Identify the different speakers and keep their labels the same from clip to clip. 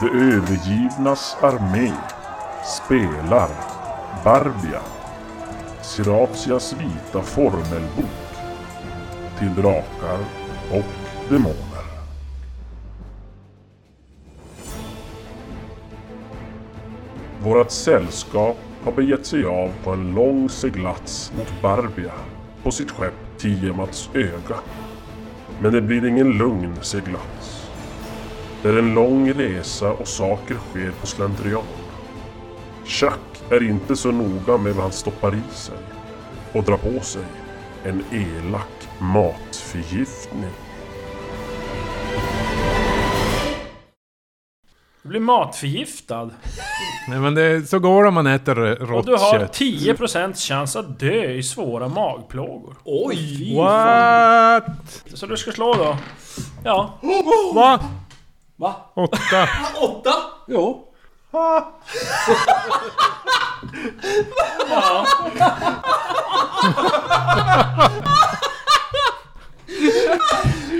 Speaker 1: De övergivnas armé spelar Barbia, Siratias vita formelbok till drakar och demoner. Vårat sällskap har begett sig av på en lång seglats mot Barbia på sitt skepp Tiamats öga. Men det blir ingen lugn seglats. Det är en lång resa och saker sker på slentrian. Chuck är inte så noga med vad han stoppar i sig och drar på sig en elak matförgiftning.
Speaker 2: Du blir matförgiftad.
Speaker 3: Nej men det, så går det om man äter
Speaker 2: Och
Speaker 3: rått
Speaker 2: du har
Speaker 3: kött.
Speaker 2: 10% chans att dö i svåra magplågor.
Speaker 4: Oj!
Speaker 3: What?
Speaker 2: Så du ska slå då? Ja.
Speaker 3: Va?
Speaker 4: Va?
Speaker 3: Åtta?
Speaker 4: Åtta? Jo.
Speaker 2: ja.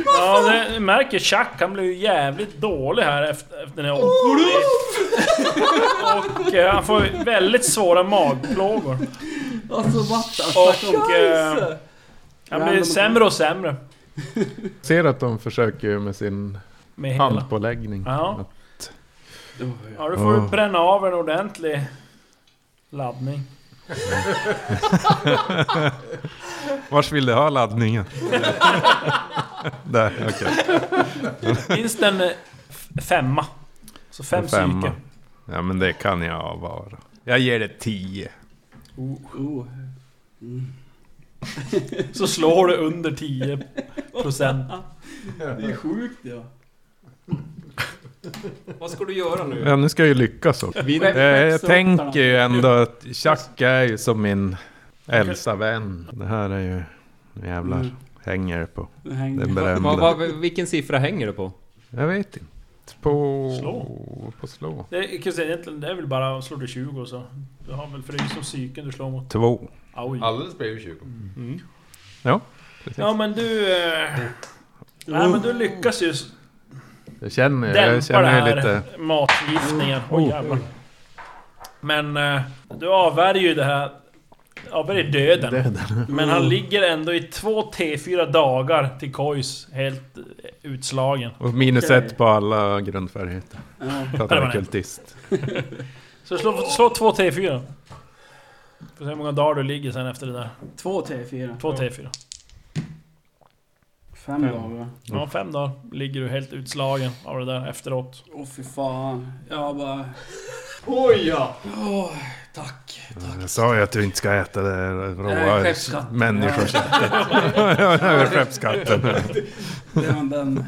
Speaker 2: Ja, det- ni märker Chuck, han blev ju jävligt dålig här efter, efter den här omgången. Och eh, han får väldigt svåra magplågor.
Speaker 4: Alltså what the
Speaker 2: Och, eh, Han blir
Speaker 4: Random-
Speaker 2: sämre och sämre.
Speaker 3: Ser att de försöker med sin
Speaker 2: Med hela.
Speaker 3: handpåläggning.
Speaker 2: Ja.
Speaker 4: Oj.
Speaker 2: Ja, du får
Speaker 3: Åh.
Speaker 2: bränna av en ordentlig laddning.
Speaker 3: Vars vill du ha laddningen? Där, okej.
Speaker 2: Minst en eh, f- femma. Så fem
Speaker 3: En femma.
Speaker 2: psyke.
Speaker 3: Ja men det kan jag vara. Jag ger det tio.
Speaker 4: Oh.
Speaker 2: Så slår du under 10%.
Speaker 4: Det är sjukt ja.
Speaker 5: Vad ska du göra nu?
Speaker 3: Ja nu ska jag ju lyckas också. Eh, jag tänker ju ändå att Chuck är ju som min äldsta vän. Det här är ju... nu Jävlar.
Speaker 4: Mm.
Speaker 3: Hänger det på.
Speaker 4: Nu hänger
Speaker 3: Den
Speaker 5: Va,
Speaker 3: berömda.
Speaker 5: va, va, vilken siffra hänger du på?
Speaker 3: Jag vet inte. På...
Speaker 2: Slå.
Speaker 3: På slå.
Speaker 2: Det, kan jag säga, egentligen, det är väl bara slår du 20 och så. Du har väl för det är ju som psyken du slår mot.
Speaker 3: Två.
Speaker 2: Oj.
Speaker 6: Alldeles bredvid 20.
Speaker 3: Ja.
Speaker 2: Ja men du... Eh, nej men du lyckas ju s-
Speaker 3: Jag känner ju... Jag
Speaker 2: dämpa det
Speaker 3: känner ju
Speaker 2: här
Speaker 3: lite...
Speaker 2: matförgiftningen. Oj
Speaker 3: Oh.
Speaker 2: jävlar. Men eh, du avvärjer ju det här... Avvärjer döden. Men
Speaker 3: Oh.
Speaker 2: han ligger ändå i två T4 dagar till Kois helt eh, utslagen.
Speaker 3: Och minus
Speaker 4: Okej.
Speaker 3: ett på alla grundfärdigheter.
Speaker 4: Ja.
Speaker 3: För att jag är
Speaker 2: Permanent.
Speaker 3: kultist.
Speaker 2: Så slå, slå två T4. Får se hur många dagar du ligger sen efter det där.
Speaker 4: Två, tre, fyra.
Speaker 2: Två T4.
Speaker 4: Fem dagar.
Speaker 2: Ja, fem dagar ligger du helt utslagen av det där efteråt.
Speaker 4: Åh fy fan. Jag bara...
Speaker 5: Oj ja!
Speaker 4: Åh, tack. Tack.
Speaker 3: Jag sa ju att du inte ska äta det
Speaker 4: Nej,
Speaker 3: råa
Speaker 4: skeppsskatt.
Speaker 3: människoköttet. Ja, det är Skeppsskatten.
Speaker 4: Det var den.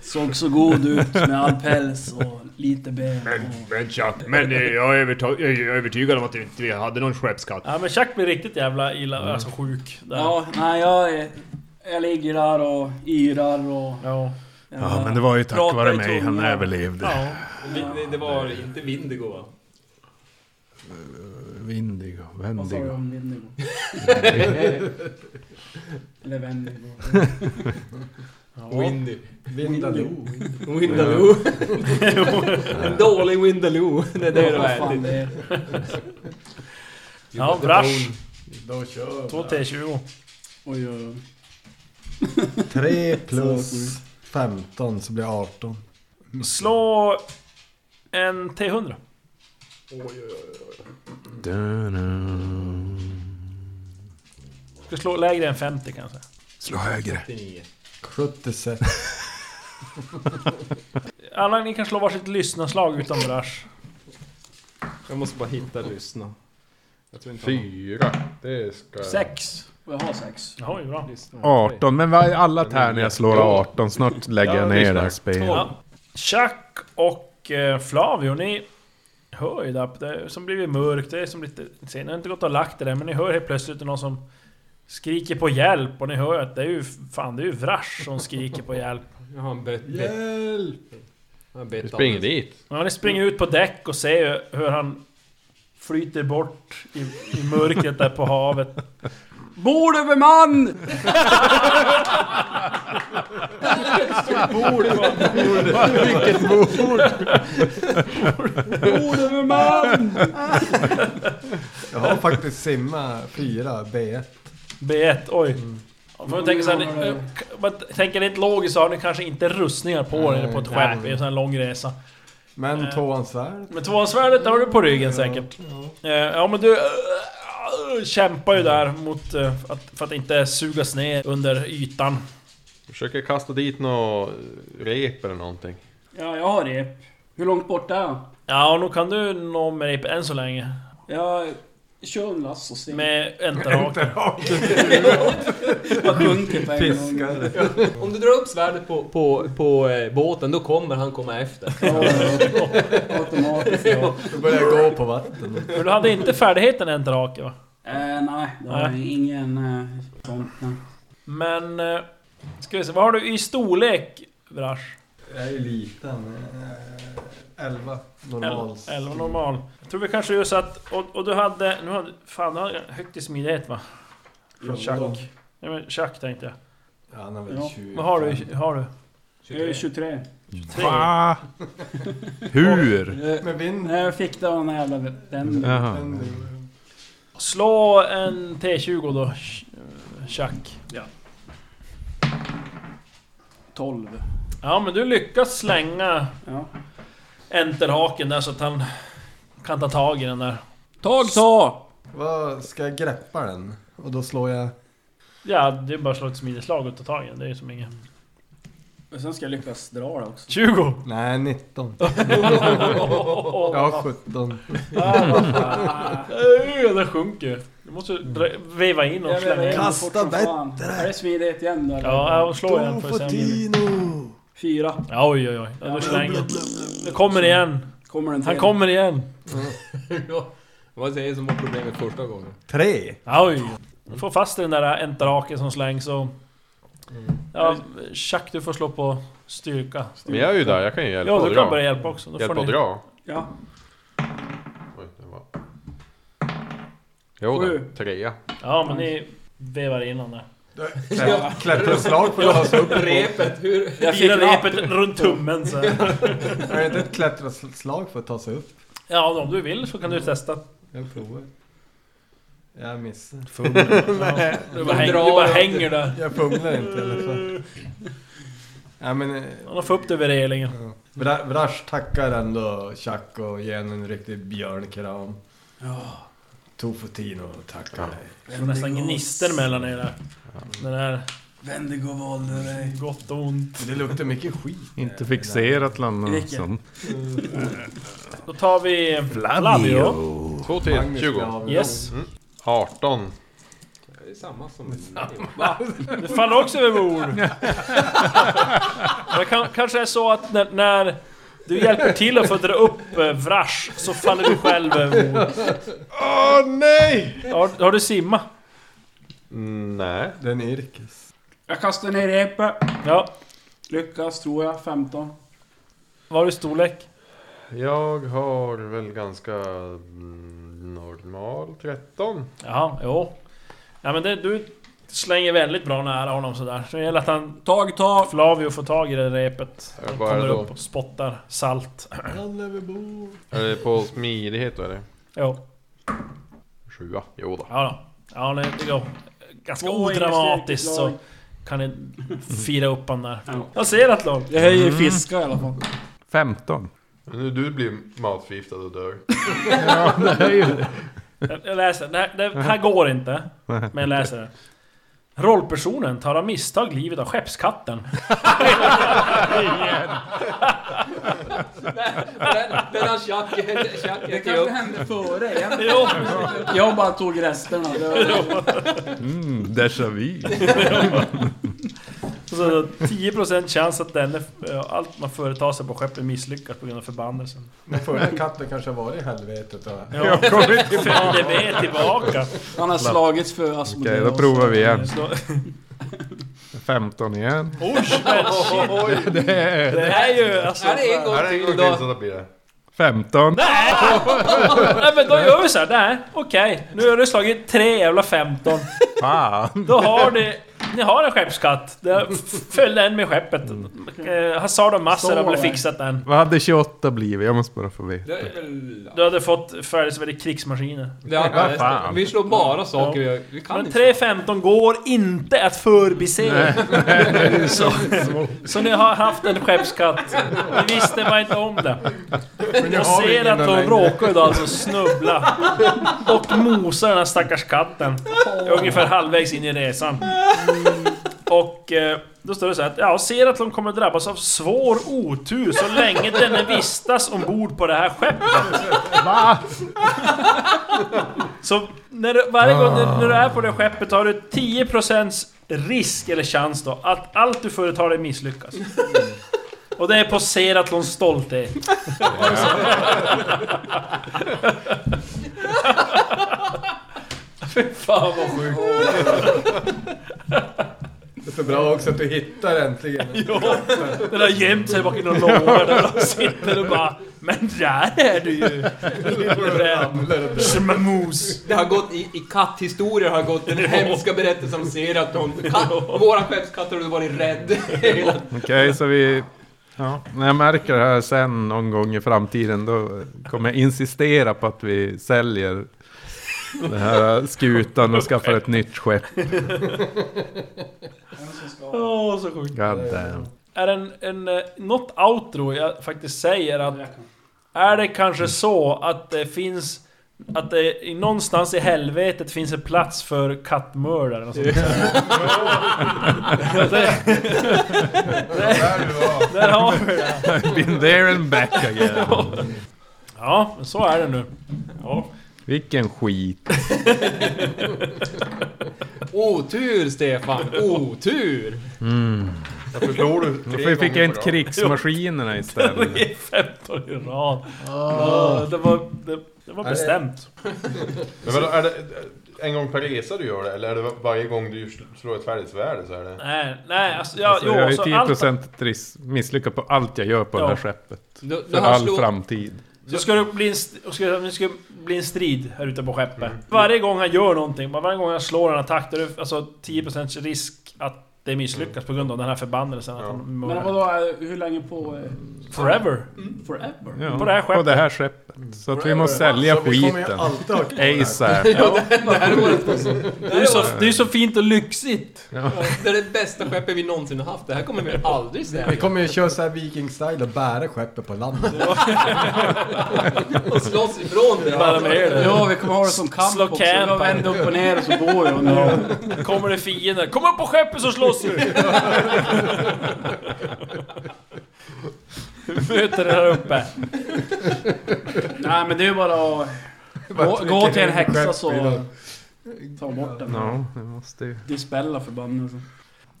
Speaker 4: Såg så god ut med all päls och lite ben. Och...
Speaker 6: Men tjack, men eh, jag är, övertag- jag är övertygad om att vi inte vi hade någon skeppskatt.
Speaker 2: Ja, men Chuck blir riktigt jävla illa, alltså sjuk. Där.
Speaker 4: Ja, nej jag är... Jag ligger där och yrar och...
Speaker 2: Ja.
Speaker 3: Ja, men det var ju tack
Speaker 4: Prata
Speaker 3: vare
Speaker 4: i
Speaker 3: mig han
Speaker 4: tunga.
Speaker 3: överlevde.
Speaker 2: ja.
Speaker 5: Det, det var inte Vindigo va?
Speaker 3: Vindigo,
Speaker 4: Vad sa du
Speaker 3: Vendigo.
Speaker 4: om Vindigo? Eller Vendigo.
Speaker 2: ja.
Speaker 5: Windaloo. Windaloo. en dålig Windaloo. Det är det du har
Speaker 4: Vad fan det
Speaker 5: ätit.
Speaker 4: är.
Speaker 2: ja brash. Två T20.
Speaker 4: Oj, oj, oj.
Speaker 7: 3 plus 15 så blir 18.
Speaker 2: Slå en T100. Ska slå lägre än 50 kanske.
Speaker 3: Slå högre.
Speaker 7: 76.
Speaker 2: Alla ni kan slå varsitt lyssnarslag utan brash.
Speaker 5: Jag måste bara hitta och lyssna. Jag tror inte han-
Speaker 6: Fyra. Det ska...
Speaker 4: Sex. Och jag har sex.
Speaker 2: Jaha, ju bra.
Speaker 3: 18, men vad är alla tärningar jag slår 18? Snart lägger jag
Speaker 6: Ja,
Speaker 3: ner det här
Speaker 6: lyssnar.
Speaker 3: spelet.
Speaker 2: Ja. Chuck och eh, Flavio, ni hör ju där, det är som blivit mörkt, det är som lite... Ni har inte gått och lagt det där, men ni hör helt plötsligt någon som skriker på hjälp och ni hör att det är ju... Fan, det är ju Vrash som skriker på hjälp.
Speaker 5: Jag har en bett... bett- jag har bett
Speaker 6: Vi springer dit.
Speaker 2: Ja, ni springer ut på däck och ser ju hur han flyter bort i, i mörkret där på havet.
Speaker 4: Bor du med man?
Speaker 7: Vilket bord!
Speaker 4: Bord över man!
Speaker 7: Jag har faktiskt simma 4 B1.
Speaker 2: B1, oj. Om man tänker, så här, eh, k- om man tänker rent logiskt så har ni kanske inte rustningar på er eller på ett skepp i en sån här lång resa.
Speaker 7: Men tvåan svärd.
Speaker 2: Men tvåansvärdet har du på ryggen säkert. Eh, Ja men du eh, kämpar ju där mot, eh, att, för att inte sugas ner under ytan.
Speaker 3: Försöker kasta dit något rep eller någonting.
Speaker 4: Ja, jag har rep. Hur långt bort är jag?
Speaker 2: Ja, och nog kan du nå med rep än så länge.
Speaker 4: Jag kör en lass och svingar.
Speaker 2: Med enterhaken.
Speaker 4: Jag sjunker på en gång.
Speaker 7: Fiskare.
Speaker 5: Om du drar upp svärdet på, på, på eh, båten, då kommer han komma efter.
Speaker 4: Ja, ja. Automatiskt. ja.
Speaker 7: Då börjar jag gå på vatten.
Speaker 2: Men du hade inte färdigheten enterhake va?
Speaker 4: Eh, nej, det har jag ingen eh, sånt. nej.
Speaker 2: Men... eh, Ska vi se, vad har du i storlek, Vrash?
Speaker 7: Jag är ju liten. eh, 11
Speaker 2: El-
Speaker 7: normalt.
Speaker 2: 11 normal. Jag tror vi kanske gör så att... Och, och du hade... Nu hade, fan, du hade högt i smidighet va? Från Chuck. Nej men Chuck tänkte jag.
Speaker 7: Ja, han är
Speaker 4: Ja.
Speaker 7: väl 20.
Speaker 2: Vad har du? i- Har du?
Speaker 4: Jag är 23.
Speaker 2: Tre.
Speaker 3: Va? Hur?
Speaker 4: Eh,
Speaker 7: Med vind.
Speaker 4: Nej, jag fick det av den här jävla den.
Speaker 3: Jaha.
Speaker 2: Slå en T20 då, Ch- Chuck.
Speaker 4: 12.
Speaker 2: Ja men du lyckas slänga
Speaker 4: Ja.
Speaker 2: enterhaken där så att han kan ta tag i den där.
Speaker 4: Tag ta!
Speaker 7: Vad ska jag greppa den? Och då slår jag...
Speaker 2: Ja, det är bara att slå ett smideslag och ta tag i den. Det är ju som inget...
Speaker 4: Och sen ska jag lyckas dra det också.
Speaker 2: 20!
Speaker 7: Nej, 19. Jag har 17.
Speaker 2: Mm. Öh, den sjunker ju. Du måste dra- veva in och slänga in.
Speaker 7: Kasta bättre.
Speaker 4: Är det smidighet igen då? eller?
Speaker 2: Ja, jag slår igen för att se om...
Speaker 7: Tino!
Speaker 4: Fyra.
Speaker 2: Ja, Oj, oj, oj. Ja, då slänger Det kommer igen.
Speaker 4: Kommer den till?
Speaker 2: Han kommer igen.
Speaker 5: Vad säger som var problemet första gången?
Speaker 7: 3!
Speaker 2: Ja, Oj. Du får fast den där enterhaken som slängs och... Ja, Chuck du får slå på styrka.
Speaker 3: Men jag är ju där, jag kan ju hjälpa
Speaker 2: Ja,
Speaker 3: och
Speaker 2: du kan börja
Speaker 3: dra.
Speaker 2: hjälpa också. Då får
Speaker 3: Hjälpa och
Speaker 2: ni...
Speaker 3: dra.
Speaker 4: Ja.
Speaker 3: Oj, det var- Jo
Speaker 4: Sju.
Speaker 3: då, trea.
Speaker 2: Ja, men ni vevar in honom där.
Speaker 7: Klätterslag får jag ha upp.
Speaker 5: Repet, hur...
Speaker 4: Jag fick
Speaker 2: Firar
Speaker 4: napp.
Speaker 2: repet runt tummen så. här.
Speaker 7: Är det inte ett klätterslag för att ta sig upp?
Speaker 2: Ja, om du vill så kan du testa.
Speaker 7: Jag provar. Jag missar.
Speaker 2: Ja. Du bara hänger, du bara hänger där.
Speaker 7: Jag fumlar inte i alla fall. Nej men... eh,
Speaker 2: Han har fått upp det över relingen.
Speaker 7: ja. Vra- Vrash tackar ändå Chuck och ger henne en riktig björnkram. Tofotino tackar dig.
Speaker 2: Det var nästan gnistor mellan er där. Den här
Speaker 4: Vendigo valde dig.
Speaker 2: gott och ont.
Speaker 7: Det luktar mycket skit. Eh,
Speaker 3: Inte fixerat land
Speaker 4: Vilken?
Speaker 3: som...
Speaker 2: Då tar vi Flavio.
Speaker 3: 2 till,
Speaker 7: Magnus
Speaker 3: 20.
Speaker 7: Grav.
Speaker 2: Yes.
Speaker 3: 18.
Speaker 5: Det är samma som...
Speaker 2: Det faller också över bord. Det kan, kanske är så att när, när du hjälper till att få dra upp eh, Vrash så faller du själv över bord.
Speaker 3: Åh nej!
Speaker 2: Har, har du simma?
Speaker 3: Mm, Nej.
Speaker 7: Det är en yrkes.
Speaker 4: Jag kastar ner repet.
Speaker 2: Ja.
Speaker 4: Lyckas tror jag. 15.
Speaker 2: Vad har du i storlek?
Speaker 3: Jag har väl ganska mm, normal 13.
Speaker 2: Jaha, jo. Ja men det, du slänger väldigt bra nära honom sådär. Så det gäller att han...
Speaker 4: Tag ta!
Speaker 2: Flavio får tag i det repet.
Speaker 3: Är det bara
Speaker 2: Kommer
Speaker 3: då?
Speaker 2: upp och spottar salt.
Speaker 7: Han överbord.
Speaker 3: Är det på smidighet då eller?
Speaker 2: Jo.
Speaker 3: Sjua. Jo då.
Speaker 2: Ja, då. ja det, det går ganska
Speaker 4: Två
Speaker 2: odramatiskt så
Speaker 4: investeringar.
Speaker 2: kan ni fira upp han där. Jag ser att lag.
Speaker 4: Jag höjer fiskar i alla fall.
Speaker 3: 15. Nu du blir matförgiftad och dör.
Speaker 2: Jag, jag läser. Det här, det här går inte. Men jag läser det. Rollpersonen tar av misstag livet av skeppskatten.
Speaker 5: Den, den har Chuck... Chuck
Speaker 4: Det
Speaker 5: ätit upp.
Speaker 4: kanske hände före. Jag,
Speaker 2: Jo,
Speaker 4: jag bara tog resterna. Det var-
Speaker 3: Mm, déjà vu.
Speaker 2: så 10% chans att denne, allt man företar sig på skeppet misslyckas på grund av förbannelsen.
Speaker 7: Den förra katten kanske har varit i helvetet. Och...
Speaker 2: Ja, följde med tillbaka.
Speaker 4: Han har slagits för
Speaker 3: Okej,
Speaker 4: Asmodeus.
Speaker 3: då provar vi igen.
Speaker 2: Så,
Speaker 3: 15 igen.
Speaker 2: oj, men shit.
Speaker 3: Det är...
Speaker 2: Det här är ju alltså...
Speaker 5: Här är
Speaker 3: Här
Speaker 5: en gång
Speaker 3: är en
Speaker 5: till
Speaker 3: gång till
Speaker 5: då.
Speaker 3: så det blir det. 15.
Speaker 2: Nej! Nej men då gör vi såhär, nej okej. Nu har du slagit tre jävla 15.
Speaker 3: Fan.
Speaker 2: Då har du ni har en skeppskatt. Det följde en med skeppet. Eh, Hazard och Mass har väl
Speaker 4: Mm. Så var det.
Speaker 2: fixat den.
Speaker 3: Vad hade 28 blivit? Jag måste bara få veta.
Speaker 5: Det är väl...
Speaker 2: Du hade fått färdigställda krigsmaskiner.
Speaker 5: Det är
Speaker 3: Vad fan.
Speaker 5: Vi slår bara saker vi, vi kan
Speaker 2: Men
Speaker 5: inte.
Speaker 2: 3.15 går inte att förbise. så, så ni har haft en skeppskatt. Ni visste bara inte om det.
Speaker 7: jag
Speaker 2: Jag ser att de råkar idag alltså snubbla och mosa den här stackars katten. Ungefär halvvägs in i resan. Och eh, då står det så här att ja, ser att de kommer drabbas av svår otur så länge denne vistas ombord på det här skeppet.
Speaker 3: Va?
Speaker 2: Så när du, varje gång när, när du är på det skeppet har du 10% risk eller chans då att allt du företar dig misslyckas. Och det är på Seratlons stolthet. Fy fan vad sjukt.
Speaker 7: Det är så bra också att du hittar äntligen.
Speaker 2: Ja, den har gömt sig bak i någon låda där och sitter och bara Men där är du ju! Smamos!
Speaker 5: Det har gått i, i katthistorier har gått den hemska berättelsen om Seraton. Katt- Våra skeppskatt har varit rädd hela
Speaker 3: Okej, så vi... Ja, när jag märker det här sen någon gång i framtiden då kommer jag insistera på att vi säljer den här skutan och skaffar ett nytt skepp.
Speaker 2: Åh, så sjukt.
Speaker 3: God damn.
Speaker 2: Är en, en, eh, något outro jag faktiskt säger att Är det kanske så att det finns att det i- någonstans i helvetet finns en plats för kattmördare och sånt där. det,
Speaker 7: Där du var.
Speaker 2: där har vi det!
Speaker 3: Been there and back again.
Speaker 2: Ja, men så är det nu. Ja.
Speaker 3: Vilken skit.
Speaker 5: Otur Stefan! Otur!
Speaker 7: Varför tror du tre
Speaker 3: Varför fick
Speaker 7: gånger
Speaker 3: jag
Speaker 7: på
Speaker 3: inte
Speaker 7: rad?
Speaker 3: krigsmaskinerna istället?
Speaker 2: 15 i rad.
Speaker 3: Ah.
Speaker 2: Ja, Det var, det, det var bestämt.
Speaker 8: Men vadå, är det en gång per resa du gör det? Eller är det varje gång du slår ett färdigt svärd så är det?
Speaker 2: Nej, nej alltså, ja,
Speaker 3: Alltså,
Speaker 2: jo,
Speaker 3: jag är
Speaker 2: så allt-
Speaker 3: 10% risk- misslyckad på allt jag gör på det här
Speaker 2: Ja.
Speaker 3: skeppet.
Speaker 5: Du, du
Speaker 3: För
Speaker 5: har
Speaker 3: all
Speaker 5: slå...
Speaker 3: framtid.
Speaker 2: Så ska det bli en, st- ska, det ska bli en strid här ute på skeppet. Varje gång han gör någonting, varje gång han slår en attack, då är det alltså 10% risk att det misslyckas på grund av den här förbannelsen. Att han
Speaker 4: Men
Speaker 2: mördar.
Speaker 4: vadå, eh, hur länge på... eh,
Speaker 2: Forever!
Speaker 4: Forever?
Speaker 3: Ja,
Speaker 2: På det här
Speaker 3: På det
Speaker 2: skeppet.
Speaker 3: här skeppet. Så att vi måste sälja
Speaker 7: Så vi kommer ju
Speaker 3: skiten.
Speaker 7: alltid ha kvar det här.
Speaker 3: ASAP.
Speaker 5: Det här är vårt-
Speaker 2: Det är ju så, det är ju så fint och lyxigt!
Speaker 5: det är det bästa skeppet vi någonsin har haft. Det här kommer vi aldrig
Speaker 7: Vi
Speaker 5: sälja.
Speaker 7: kommer ju köra såhär viking-style och bära skeppet på landet.
Speaker 5: Och slåss ifrån det.
Speaker 2: Bara med er där.
Speaker 4: Ja, vi kommer ha det som kamp
Speaker 2: Slå
Speaker 4: också.
Speaker 2: camp.
Speaker 4: Jag vänder upp och ner och så går jag. Ja.
Speaker 2: Kommer det fiender, kom upp på skeppet så slåss vi! Vi Möter det här uppe.
Speaker 4: Nej men det är ju bara att... Gå, gå till en häxa så... Ta bort den.
Speaker 3: Ja, det måste ju...
Speaker 4: Dispella förbannelsen.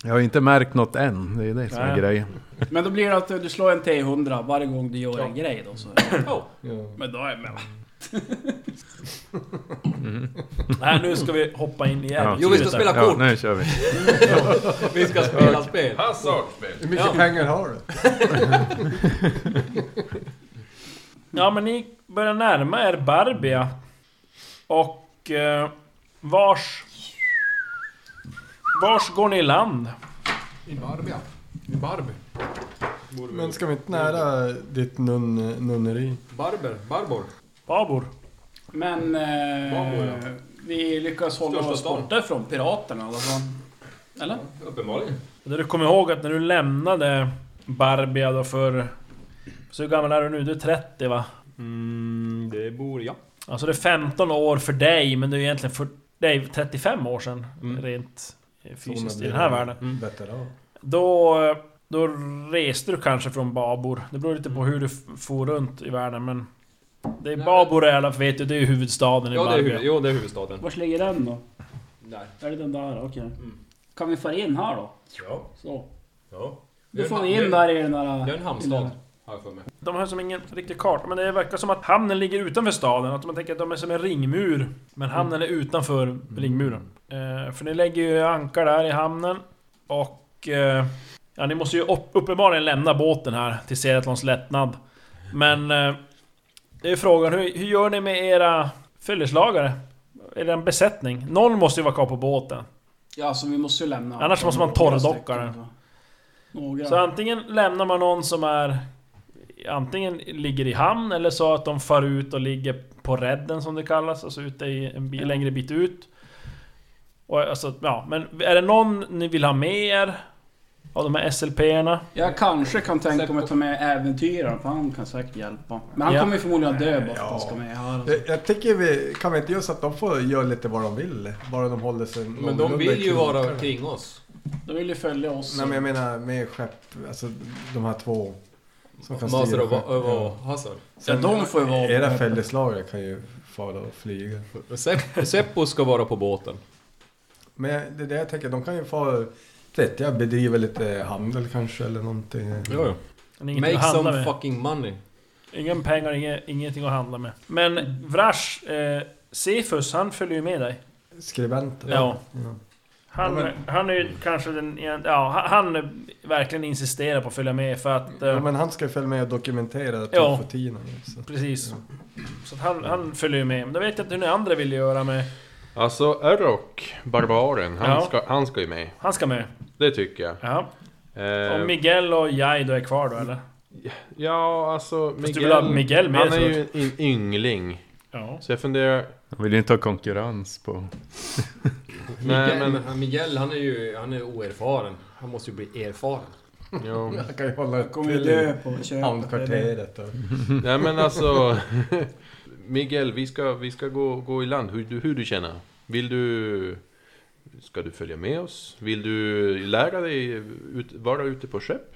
Speaker 3: Jag har inte märkt något än. Det är det som är
Speaker 2: Nej.
Speaker 3: grejen.
Speaker 4: Men då blir det att du slår en T100 varje gång du gör en grej då så.
Speaker 5: Ja.
Speaker 4: Men då är jag
Speaker 2: Nej, nu ska vi hoppa in igen.
Speaker 3: Ja.
Speaker 5: Jo, vi ska spela
Speaker 3: Ja,
Speaker 5: kort.
Speaker 3: nu kör vi.
Speaker 5: Vi ska spela spel.
Speaker 8: Hazardspel!
Speaker 7: Hur mycket
Speaker 5: Ja.
Speaker 7: pengar har du?
Speaker 2: Ja men ni börjar närma er Barbia. Och eh, vars... Vars går ni i land?
Speaker 5: I Barbia. I Barb.
Speaker 7: Men ska vi inte nära ditt nun, nunneri?
Speaker 5: Barber. Barbor.
Speaker 2: Babor?
Speaker 4: Men...
Speaker 5: Vad
Speaker 4: Eh,
Speaker 5: var
Speaker 4: vi lyckas hålla
Speaker 5: Största
Speaker 4: oss
Speaker 5: stan.
Speaker 4: borta från piraterna i alla fall. Eller?
Speaker 5: Uppenbarligen.
Speaker 2: Det du kommer ihåg att när du lämnade Barbia då för... Så hur gammal är du nu? Du är 30 va?
Speaker 5: Mm, det borde jag.
Speaker 2: Alltså det är 15 år för dig men det är egentligen för dig 35 år sedan.
Speaker 5: Mm.
Speaker 2: Rent eh, fysiskt i den här världen.
Speaker 7: Veteran.
Speaker 5: Alltså.
Speaker 2: Då, då reste du kanske från Babor. Det beror lite på hur du f- for runt i världen men... Det är
Speaker 5: Mm. Nej,
Speaker 2: Babor i alla fall vet du, det är ju huvudstaden i
Speaker 5: Ja, det är,
Speaker 2: Barbie.
Speaker 5: huv- jo, det är huvudstaden.
Speaker 4: Vart ligger den då?
Speaker 5: Där. Mm.
Speaker 4: Är det den där? Okej. Kan vi få in här då?
Speaker 5: Ja.
Speaker 4: Så.
Speaker 5: ja.
Speaker 4: Då får vi in där i den där...
Speaker 5: Det är en hamnstad, har jag för mig.
Speaker 2: De har som ingen riktig karta, men det verkar som att hamnen ligger utanför staden. Att man tänker att de är som en ringmur. Men hamnen är utanför ringmuren. Eh, för ni lägger ju ankar där i hamnen. Och... Eh, ja, ni måste ju upp, uppenbarligen lämna båten här till Seratlons lättnad. Men... Eh, det är frågan, hur, hur gör ni med era följeslagare? Er besättning? Någon måste ju vara kvar på båten.
Speaker 4: Ja, så vi måste ju lämna.
Speaker 2: Annars måste man
Speaker 4: Några
Speaker 2: torrdocka
Speaker 4: stycken,
Speaker 2: den.
Speaker 4: så. Några.
Speaker 2: Så antingen lämnar man någon som är... Antingen ligger i hamn eller så att de far ut och ligger på redden som det kallas, alltså ute i en bi- längre bit ut. Och alltså, ja, men är det någon ni vill ha med er? Av de här SLP-erna?
Speaker 4: Jag kanske kan tänka mig att ta med äventyraren, för han kan säkert hjälpa. Men han
Speaker 2: Ja.
Speaker 4: kommer ju förmodligen dö bara för att han
Speaker 7: Ja.
Speaker 4: ska med här. Alltså.
Speaker 7: Jag, jag tycker vi, kan vi inte göra så att de får göra lite vad de vill? Bara de håller sig
Speaker 5: Men de vill ju vara kring oss.
Speaker 4: De vill ju följa oss.
Speaker 7: Nej men jag menar med skepp, alltså de här två. Som kan
Speaker 5: Master
Speaker 7: styra
Speaker 5: of
Speaker 7: skepp.
Speaker 5: of- of Hazard.
Speaker 4: ja, de får ju vara
Speaker 7: Ja. Era fälleslagare kan ju fara och flyga.
Speaker 5: Sepp- Seppo ska vara på båten.
Speaker 7: Men jag- det är det jag tänker, de kan ju fara vettiga, bedriva lite handel kanske eller någonting.
Speaker 5: Jo,
Speaker 2: Men
Speaker 5: jo.
Speaker 2: ingenting
Speaker 5: Make
Speaker 2: att handla
Speaker 5: some
Speaker 2: med.
Speaker 5: fucking money.
Speaker 2: Ingen pengar, inget, ingenting att handla med. Men Vrash, eh, Cephus, han följer ju med dig.
Speaker 7: Skribenter.
Speaker 2: Ja. Han,
Speaker 7: Ja, men-
Speaker 2: han är ju kanske den... Ja, han- han verkligen insisterar på att följa med för att... eh,
Speaker 7: Ja, men han ska ju följa med och dokumentera
Speaker 2: Ja.
Speaker 7: Tofotinen. Ja.
Speaker 2: Precis. Så att han, han följer ju med. Men då vet jag inte hur ni andra vill göra med...
Speaker 8: Alltså Erok, barbaren, han,
Speaker 2: Ja.
Speaker 8: ska, han ska ju med.
Speaker 2: Han ska med.
Speaker 8: Det tycker jag.
Speaker 2: Ja.
Speaker 8: Eh,
Speaker 2: Och Miguel och Jai då är kvar då eller?
Speaker 8: ja, alltså Miguel,
Speaker 2: du vill ha Miguel med,
Speaker 8: han är
Speaker 2: såklart.
Speaker 8: ju en y- yngling.
Speaker 2: Ja.
Speaker 8: Så jag funderar...
Speaker 3: Jag vill ju inte ha konkurrens på...
Speaker 8: Nej,
Speaker 5: Miguel,
Speaker 8: men-
Speaker 5: Miguel han är ju han är oerfaren. Han måste ju bli erfaren.
Speaker 8: Jo.
Speaker 7: Han kan ju hålla
Speaker 4: Jag kommer ju dö på köpet. eller-
Speaker 7: hamnkvarteret. och-
Speaker 8: Nej men alltså... Miguel, vi ska, vi ska gå, gå i land. Hur, du- hur du känner? Vill du... Ska du följa med oss? Vill du lära dig ut, vara ute på skepp?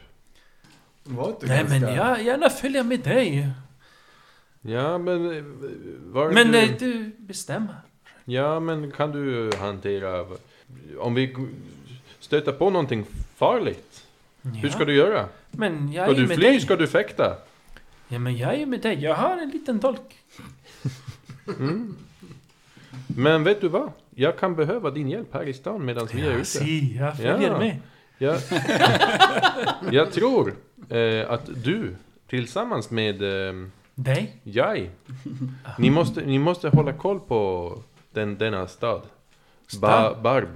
Speaker 7: Var inte
Speaker 2: Nej men
Speaker 7: ganska-
Speaker 2: jag gärna följer med dig.
Speaker 8: Ja men... eh, Var
Speaker 2: Men
Speaker 8: du,
Speaker 2: eh, du bestämmer.
Speaker 8: Ja men kan du hantera... Om vi g- stöter på någonting farligt? Hur
Speaker 2: Ja.
Speaker 8: ska du göra?
Speaker 2: Men jag
Speaker 8: Ska
Speaker 2: är ju
Speaker 8: du
Speaker 2: med
Speaker 8: fly?
Speaker 2: dig.
Speaker 8: Ska du fäkta?
Speaker 2: Ja men jag är ju med dig. Jag har en liten tolk.
Speaker 8: Men vet du vad? Jag kan behöva din hjälp här i stan medan vi är ute.
Speaker 2: Si, jag följer
Speaker 8: Ja.
Speaker 2: med.
Speaker 8: Jag, jag tror eh, att du tillsammans med eh,
Speaker 2: Dig?
Speaker 8: Jai, ni måste, ni måste hålla koll på den, denna stad. Ba, barb.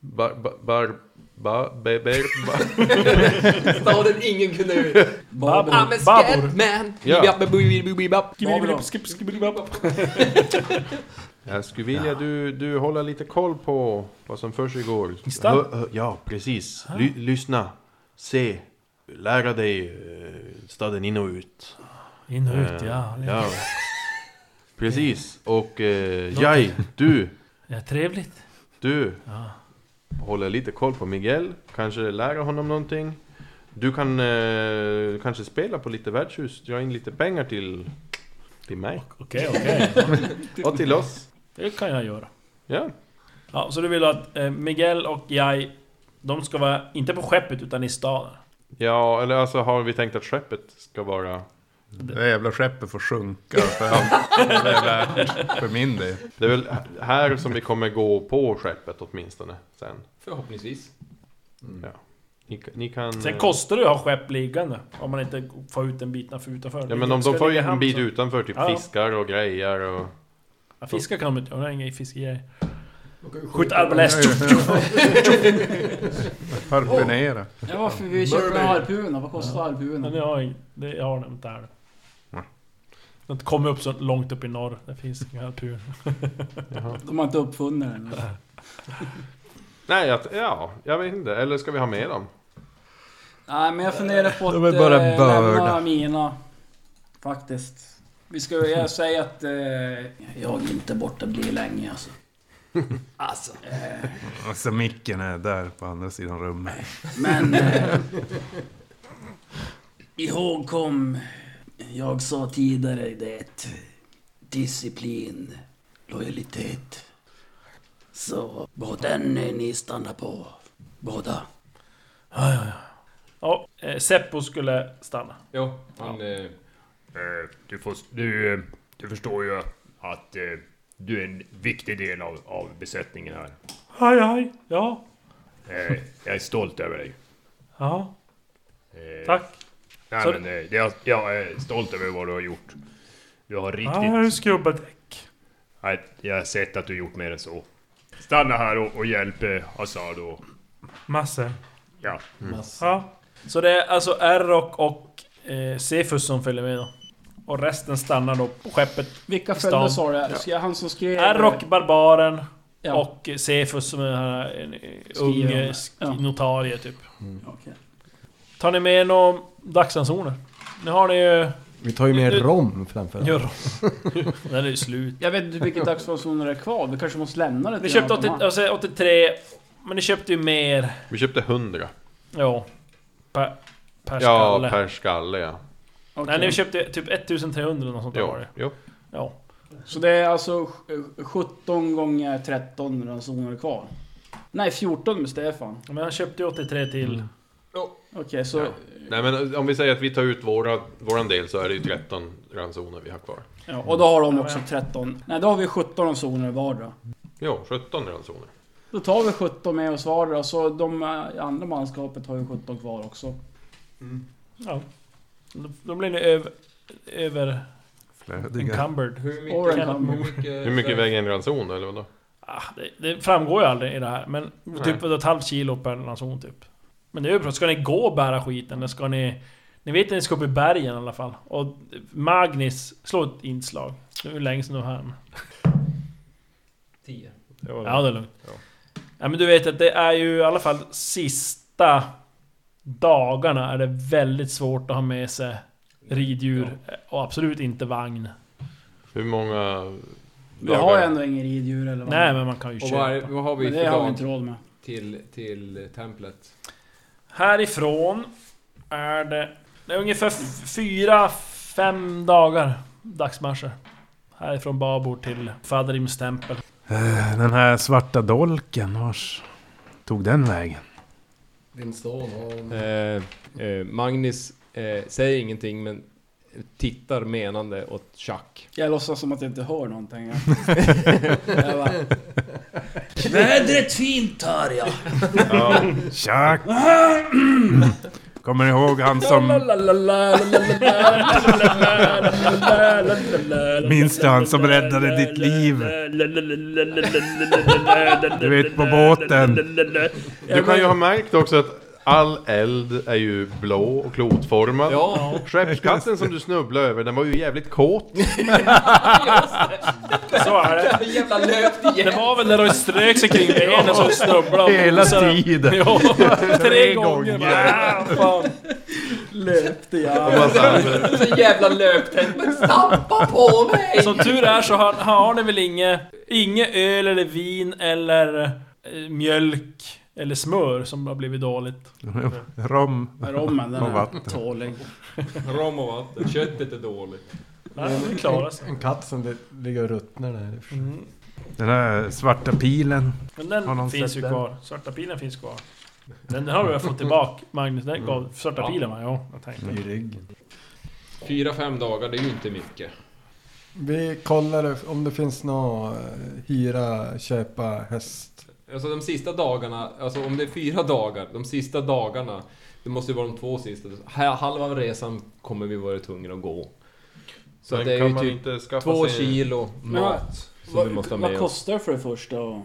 Speaker 8: Bar, ba, bar, ba, be, ber, ba.
Speaker 5: Staden ingen kunde ut.
Speaker 2: Babor.
Speaker 5: I'm a
Speaker 2: Babor.
Speaker 5: scatman.
Speaker 8: Ja.
Speaker 5: Ja.
Speaker 4: Babylon.
Speaker 8: Jag skulle vilja du, du håller lite koll på vad som försiggår.
Speaker 2: I stan?
Speaker 8: Hö- hö- Ja, precis. Ly, lyssna, se, lära dig eh, staden in och ut.
Speaker 2: In och ut,
Speaker 8: Eh,
Speaker 2: ja.
Speaker 8: ja. Precis. Och eh, Jai, du,
Speaker 2: Ja, trevligt.
Speaker 8: du
Speaker 2: Ja.
Speaker 8: håller lite koll på Miguel. Kanske lära honom någonting. Du kan eh, kanske spela på lite värdshus, dra in lite pengar till, till mig
Speaker 2: Okej, okej.
Speaker 8: och till oss.
Speaker 2: Det kan jag göra.
Speaker 8: Ja,
Speaker 2: Ja, så du vill att eh, Miguel och Jai, de ska vara, inte på skeppet utan i staden?
Speaker 8: ja eller alltså har vi tänkt att skeppet ska vara...
Speaker 3: Det där jävla skeppet får sjunka för allt det är värt för min del.
Speaker 8: Det är väl här som vi kommer gå på skeppet åtminstone sen.
Speaker 5: Förhoppningsvis. Mm.
Speaker 8: Ni, ni kan...
Speaker 2: Sen
Speaker 8: eh,
Speaker 2: kostar det ju att ha skepp liggande om man inte får ut en bit utanför.
Speaker 8: Ja men om de
Speaker 2: Ska
Speaker 8: får ju
Speaker 2: ligga i hamn
Speaker 8: en bit
Speaker 2: så-
Speaker 8: utanför, typ
Speaker 2: Ja.
Speaker 8: fiskar och grejer och...
Speaker 2: Ja, fiskar kan de inte göra, de har inga fiskegrejer.
Speaker 7: Man kan ju
Speaker 2: Skjut
Speaker 7: skjuta-
Speaker 2: arbaläst!
Speaker 3: Harpunera.
Speaker 4: Ja, varför vi köper harpuner? Vad kostar harpuner?
Speaker 2: Men jag har, ing- det, jag har inte där. De har inte kommit upp så långt upp i norr. Det finns inga alpuner.
Speaker 4: De har inte uppfunnit den.
Speaker 8: Nej, att, ja, jag vet inte. Eller ska vi ha med dem?
Speaker 4: Nej, men jag funderar på att
Speaker 3: De är bara
Speaker 4: eh,
Speaker 3: börda.
Speaker 4: lämna mina. Faktiskt. Vi ska jag säger att... Eh, jag är inte borta blir länge alltså. Alltså. Eh,
Speaker 3: Alltså micken är där på andra sidan rummet.
Speaker 4: men... Eh, ihåg kom... Jag sa tidigare det. Disciplin. Lojalitet. Så, vad än ni stannar på. Båda.
Speaker 2: Ja, eh, Seppo skulle stanna.
Speaker 5: Ja, han... eh,
Speaker 6: Eh, Du, får, du, eh, du förstår ju att eh, du är en viktig del av, av besättningen här.
Speaker 2: Hej, hej! Ja,
Speaker 6: Eh, Jag är stolt över dig.
Speaker 2: ja,
Speaker 6: Eh,
Speaker 2: tack.
Speaker 6: Nej,
Speaker 2: Så-
Speaker 6: men, eh, det, jag, jag är stolt över vad du har gjort. Du har
Speaker 2: Ja, jag har
Speaker 6: riktigt...
Speaker 2: skrubbat däck.
Speaker 6: Nej, jag har sett att du gjort mer än så. Stanna här och, och hjälp eh, Assad och...
Speaker 2: Massor.
Speaker 6: Ja.
Speaker 4: Mm.
Speaker 2: Ja. Så det är alltså Errok och eh, Cephus som följer med då. Och resten stannar då på skeppet.
Speaker 4: Vilka
Speaker 2: Stan.
Speaker 4: följder sa du? Ska jag han som skrev...
Speaker 2: Errok, Barbaren
Speaker 4: Ja.
Speaker 2: och Cephus som är den här en eh, ung
Speaker 4: Skriver om
Speaker 2: eh,
Speaker 4: det.
Speaker 2: sk-
Speaker 4: Ja.
Speaker 2: notarie typ.
Speaker 4: Okej.
Speaker 2: Tar ni med några dagsansoner? Nu har ni ju...
Speaker 7: Vi tar ju med rom framför allt.
Speaker 2: Gör Den är ju slut.
Speaker 4: Jag vet inte vilket dagsfasoner det är kvar. Vi kanske måste lämna det
Speaker 2: Ni
Speaker 4: till
Speaker 2: köpte
Speaker 4: någon
Speaker 2: 80,
Speaker 4: annan.
Speaker 2: alltså 83, men ni köpte ju mer.
Speaker 8: Vi köpte 100.
Speaker 2: Ja. Per, per
Speaker 8: Ja,
Speaker 2: skalle.
Speaker 8: per skalle ja.
Speaker 4: Okej.
Speaker 2: Nej, ni köpte typ 1300 eller något sånt där
Speaker 8: Jo,
Speaker 2: var det.
Speaker 8: jo.
Speaker 2: Ja.
Speaker 4: Så det är alltså sj- 17 gånger 13 ransoner kvar. Nej, 14 med Stefan.
Speaker 2: Men han köpte ju 83 till.
Speaker 4: Okej, så...
Speaker 8: Ja. Nej men om vi säger att vi tar ut våra, våran del så är det ju 13 ransoner vi har kvar.
Speaker 4: Ja, och då har de
Speaker 2: Ja,
Speaker 4: också
Speaker 2: men-
Speaker 4: 13. Nej, då har vi 17 ransoner vardera.
Speaker 8: Jo, 17 ransoner.
Speaker 4: Då tar vi 17 med oss vardera, så de eh, andra manskapet har ju 17 kvar också.
Speaker 2: Ja. Då- Då blir ni över... Över...
Speaker 3: Flödiga.
Speaker 2: Encumbered.
Speaker 5: Hur
Speaker 4: Orange
Speaker 5: mycket...
Speaker 4: Hummer.
Speaker 5: mycket,
Speaker 8: Hur mycket väger en ranson eller vadå?
Speaker 2: Ah, det, det framgår ju aldrig i det här, men typ ett halvt kilo per ranson typ. Men det är ju bra. Ska ni gå och bära skiten? Eller ska ni... Ni vet att ni ska upp i bergen i alla fall. Och Magnus, slå ett inslag. Det är ju länge sedan du var här. men-
Speaker 5: 10.
Speaker 2: Ja, det är lugnt. Ja. men du vet att det är ju i alla fall sista dagarna är det väldigt svårt att ha med sig riddjur och absolut inte vagn.
Speaker 8: Hur många...
Speaker 4: Vi
Speaker 8: dagar-
Speaker 4: har ju ändå ingen riddjur eller vad.
Speaker 2: Nej, men man kan ju
Speaker 5: Och vad, är,
Speaker 2: köpa.
Speaker 5: vad har vi
Speaker 4: men
Speaker 5: för
Speaker 4: det har vi inte
Speaker 5: dag
Speaker 4: råd med.
Speaker 5: till, till templet?
Speaker 2: Härifrån är det, det är ungefär f- fyra, fem dagar dagsmarscher. Härifrån Babor till Fadrims tempel.
Speaker 3: Eh, Den här svarta dolken, vars tog den vägen?
Speaker 7: Din son och...
Speaker 5: Eh, eh, Magnus eh, säger ingenting men tittar menande åt Chuck.
Speaker 4: Jag låtsas som att jag inte hör någonting. Jag. jag bara, Vädret fint hör jag.
Speaker 3: Tjack! Kommer ni ihåg han som... Minns du han som räddade ditt liv? Du vet, på båten.
Speaker 8: Du kan ju ha märkt också att all eld är ju blå och klotformad.
Speaker 5: Ja,
Speaker 8: Skeppskatten som du snubblade över, den var ju jävligt kåt.
Speaker 2: Så är det.
Speaker 5: jävla löpt igen!
Speaker 2: Det var väl när de strök sig kring benen så snubblade och
Speaker 3: Hela
Speaker 2: mosade.
Speaker 3: tiden!
Speaker 2: Ja,
Speaker 3: Tre
Speaker 2: tre
Speaker 3: gånger.
Speaker 2: gånger. Ah, fan.
Speaker 4: Löpte jag.
Speaker 8: Och bara så här,
Speaker 5: Så jävla löptänd, men stampa på mig!
Speaker 2: Som tur är så har, har ni väl inget inge öl eller vin eller eh, mjölk eller smör som har blivit dåligt.
Speaker 3: Rom.
Speaker 4: Rommen, den
Speaker 3: Och
Speaker 4: är
Speaker 3: vatten.
Speaker 4: tålig.
Speaker 5: Rom och vatten, köttet är dåligt.
Speaker 2: Nej, det klarar sig. Mm.
Speaker 7: En katt som det ligger och ruttnar där.
Speaker 3: Den här svarta pilen.
Speaker 2: Men
Speaker 3: Har
Speaker 2: den
Speaker 3: någon
Speaker 2: finns
Speaker 3: sett
Speaker 2: ju
Speaker 3: den?
Speaker 2: kvar. Svarta pilen finns kvar. Den, den har du väl fått tillbaka Magnus? Den gav svarta pilen va? Ja, jag tänkte.
Speaker 7: I ryggen.
Speaker 5: Fyra, fem dagar, det är ju inte mycket.
Speaker 7: Vi kollar om det finns någon eh, hyra, köpa, häst.
Speaker 5: Alltså de sista dagarna, alltså om det är fyra dagar, de sista dagarna, det måste ju vara de två sista. Ha- Halva av resan kommer vi vara tvungna att gå. Så
Speaker 8: men
Speaker 5: det är
Speaker 8: kan
Speaker 5: ju
Speaker 8: man
Speaker 5: typ
Speaker 8: inte skaffa
Speaker 5: två
Speaker 8: sig-
Speaker 5: kilo mat som vi måste ha
Speaker 4: Vad, vad
Speaker 5: med oss.
Speaker 4: kostar det för det första att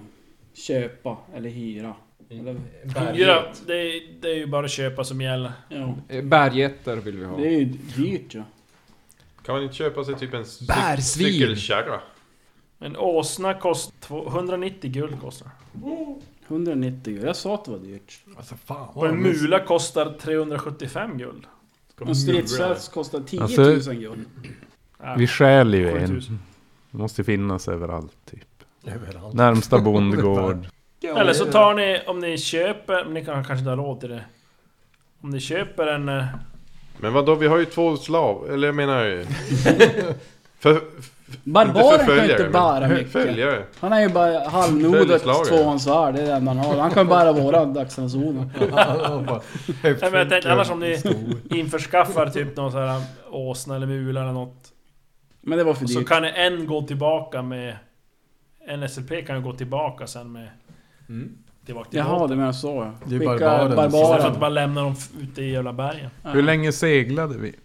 Speaker 4: köpa eller hyra?
Speaker 5: Mm.
Speaker 4: Eller,
Speaker 2: Hyra, det, är- det är ju bara att köpa som gäller.
Speaker 4: ja,
Speaker 5: Eh, Bärgetter vill vi ha.
Speaker 4: det är ju dyrt ju.
Speaker 8: Kan man inte köpa sig typ en cyk-
Speaker 5: Bärsvin.
Speaker 8: cykelkärra?
Speaker 2: En åsna kostar två- 190 guld kostar.
Speaker 4: 190 euro. Jag sa att det var dyrt.
Speaker 7: Alltså fan
Speaker 2: Och
Speaker 7: vad
Speaker 2: en mula kostar 375 guld.
Speaker 4: En stridsvärts kostar 10 000
Speaker 3: Alltså-
Speaker 4: guld.
Speaker 2: Ja,
Speaker 3: Vi stjäl ju en.
Speaker 2: 7000.
Speaker 3: Det måste ju finnas överallt typ.
Speaker 7: Överallt.
Speaker 3: Närmsta bondgård.
Speaker 2: Eller så tar ni, om ni köper, men ni kan, kanske inte har råd till det. Om ni köper en... eh,
Speaker 8: Men vadå, vi har ju två slav, eller jag menar ju... För,
Speaker 4: Barbaren kan ju
Speaker 8: förföljare,
Speaker 4: inte
Speaker 8: men-
Speaker 4: bära mycket.
Speaker 8: följare.
Speaker 4: Han är ju bara halvnodet
Speaker 8: Följeslagare.
Speaker 4: tvåhandsvärd, det är det enda han har. Han kan bära våra dagsransoner.
Speaker 2: Nej, men jag tänkte annars om ni införskaffar typ någon sån här åsna eller mula eller något.
Speaker 4: Men det var för
Speaker 2: Så
Speaker 4: dyrt.
Speaker 2: kan ni en gå tillbaka med... En SLP kan ju gå tillbaka sen med... Tillbaka till
Speaker 4: Jaha,
Speaker 2: båten.
Speaker 4: det menar jag så ja.
Speaker 7: Det är
Speaker 4: Skicka
Speaker 7: barbaren.
Speaker 2: Istället för att
Speaker 4: barbaren.
Speaker 2: bara lämna dem f- ute i jävla bergen.
Speaker 3: Hur länge seglade vi?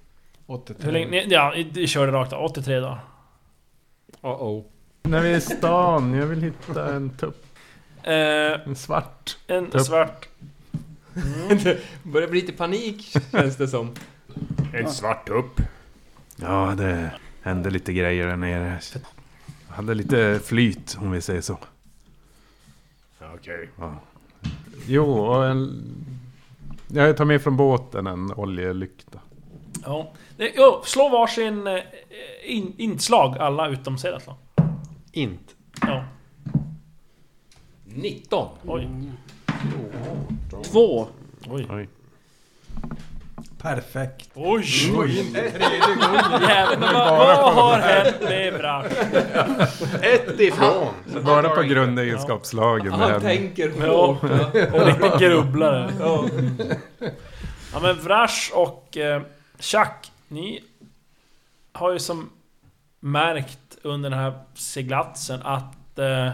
Speaker 2: Hur länge... ni- Ja, ni- ni körde rakt av. 83 dagar.
Speaker 5: Uh-oh.
Speaker 3: När vi är i stan. Jag vill hitta en tupp.
Speaker 2: Eh,
Speaker 3: En svart.
Speaker 2: en
Speaker 3: Tupp.
Speaker 2: svart.
Speaker 5: Det börjar bli lite panik, känns det som.
Speaker 6: En svart upp.
Speaker 3: Ja, det hände lite grejer där nere. Jag hade lite flyt, om vi säger så.
Speaker 6: Okej.
Speaker 3: Jo, och en... Jag tar med från båten en oljelykta.
Speaker 2: Ja. Det- Jo, slå varsin eh, in, inslag alla utom Sedatlan.
Speaker 8: Inte.
Speaker 2: Ja.
Speaker 5: 19!
Speaker 2: Oj.
Speaker 4: Två.
Speaker 2: Oj.
Speaker 7: Perfekt.
Speaker 2: Oj! Jävlar vad, vad har hänt med Brash?
Speaker 8: Ett ifrån!
Speaker 3: Bara på grundegenskapslagen.
Speaker 5: Han
Speaker 3: men-
Speaker 5: tänker
Speaker 2: Ja.
Speaker 5: hårt. va?
Speaker 2: Och lite grubblare. Ja. ja men Vrash och eh, Chuck, ni har ju som märkt under den här seglatsen att eh,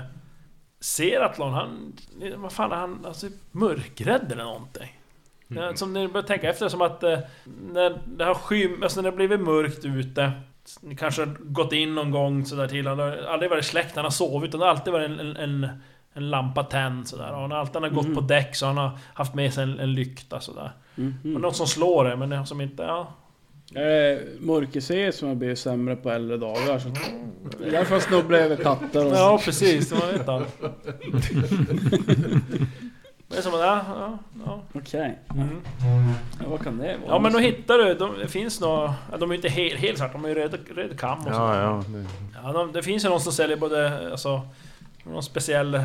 Speaker 2: Seratlon, han... Vad fan är han? Alltså mörkrädd eller någonting. Mm. Som ni börjar tänka efter, som att eh, när det har skym... Alltså när det blivit mörkt ute ni kanske har gått in någon gång sådär till Han har aldrig varit släckt, han har sovit utan det har alltid varit en, en, en, en lampa tänd sådär. Och han har alltid han har gått på däck så han har haft med sig en, en lykta sådär.
Speaker 4: Mm. Mhm.
Speaker 2: Och något som slår det men det har som inte... Ja.
Speaker 4: Eh, Mörkerseer som har blivit sämre på äldre dagar. Så Det är därför jag snubblar över katter och...
Speaker 2: Ja precis, det man vet aldrig. Det är som att, ja, ja, ja.
Speaker 4: Okej.
Speaker 2: Mm.
Speaker 4: Ja, vad kan det vara?
Speaker 2: ja men då hittar du, de, det finns några... ja, De är ju inte helt, helt svarta, de är ju röd, röd kam och sådär.
Speaker 3: Ja, ja. det-
Speaker 2: Ja, de, det finns ju någon som säljer både, alltså, någon speciell eh,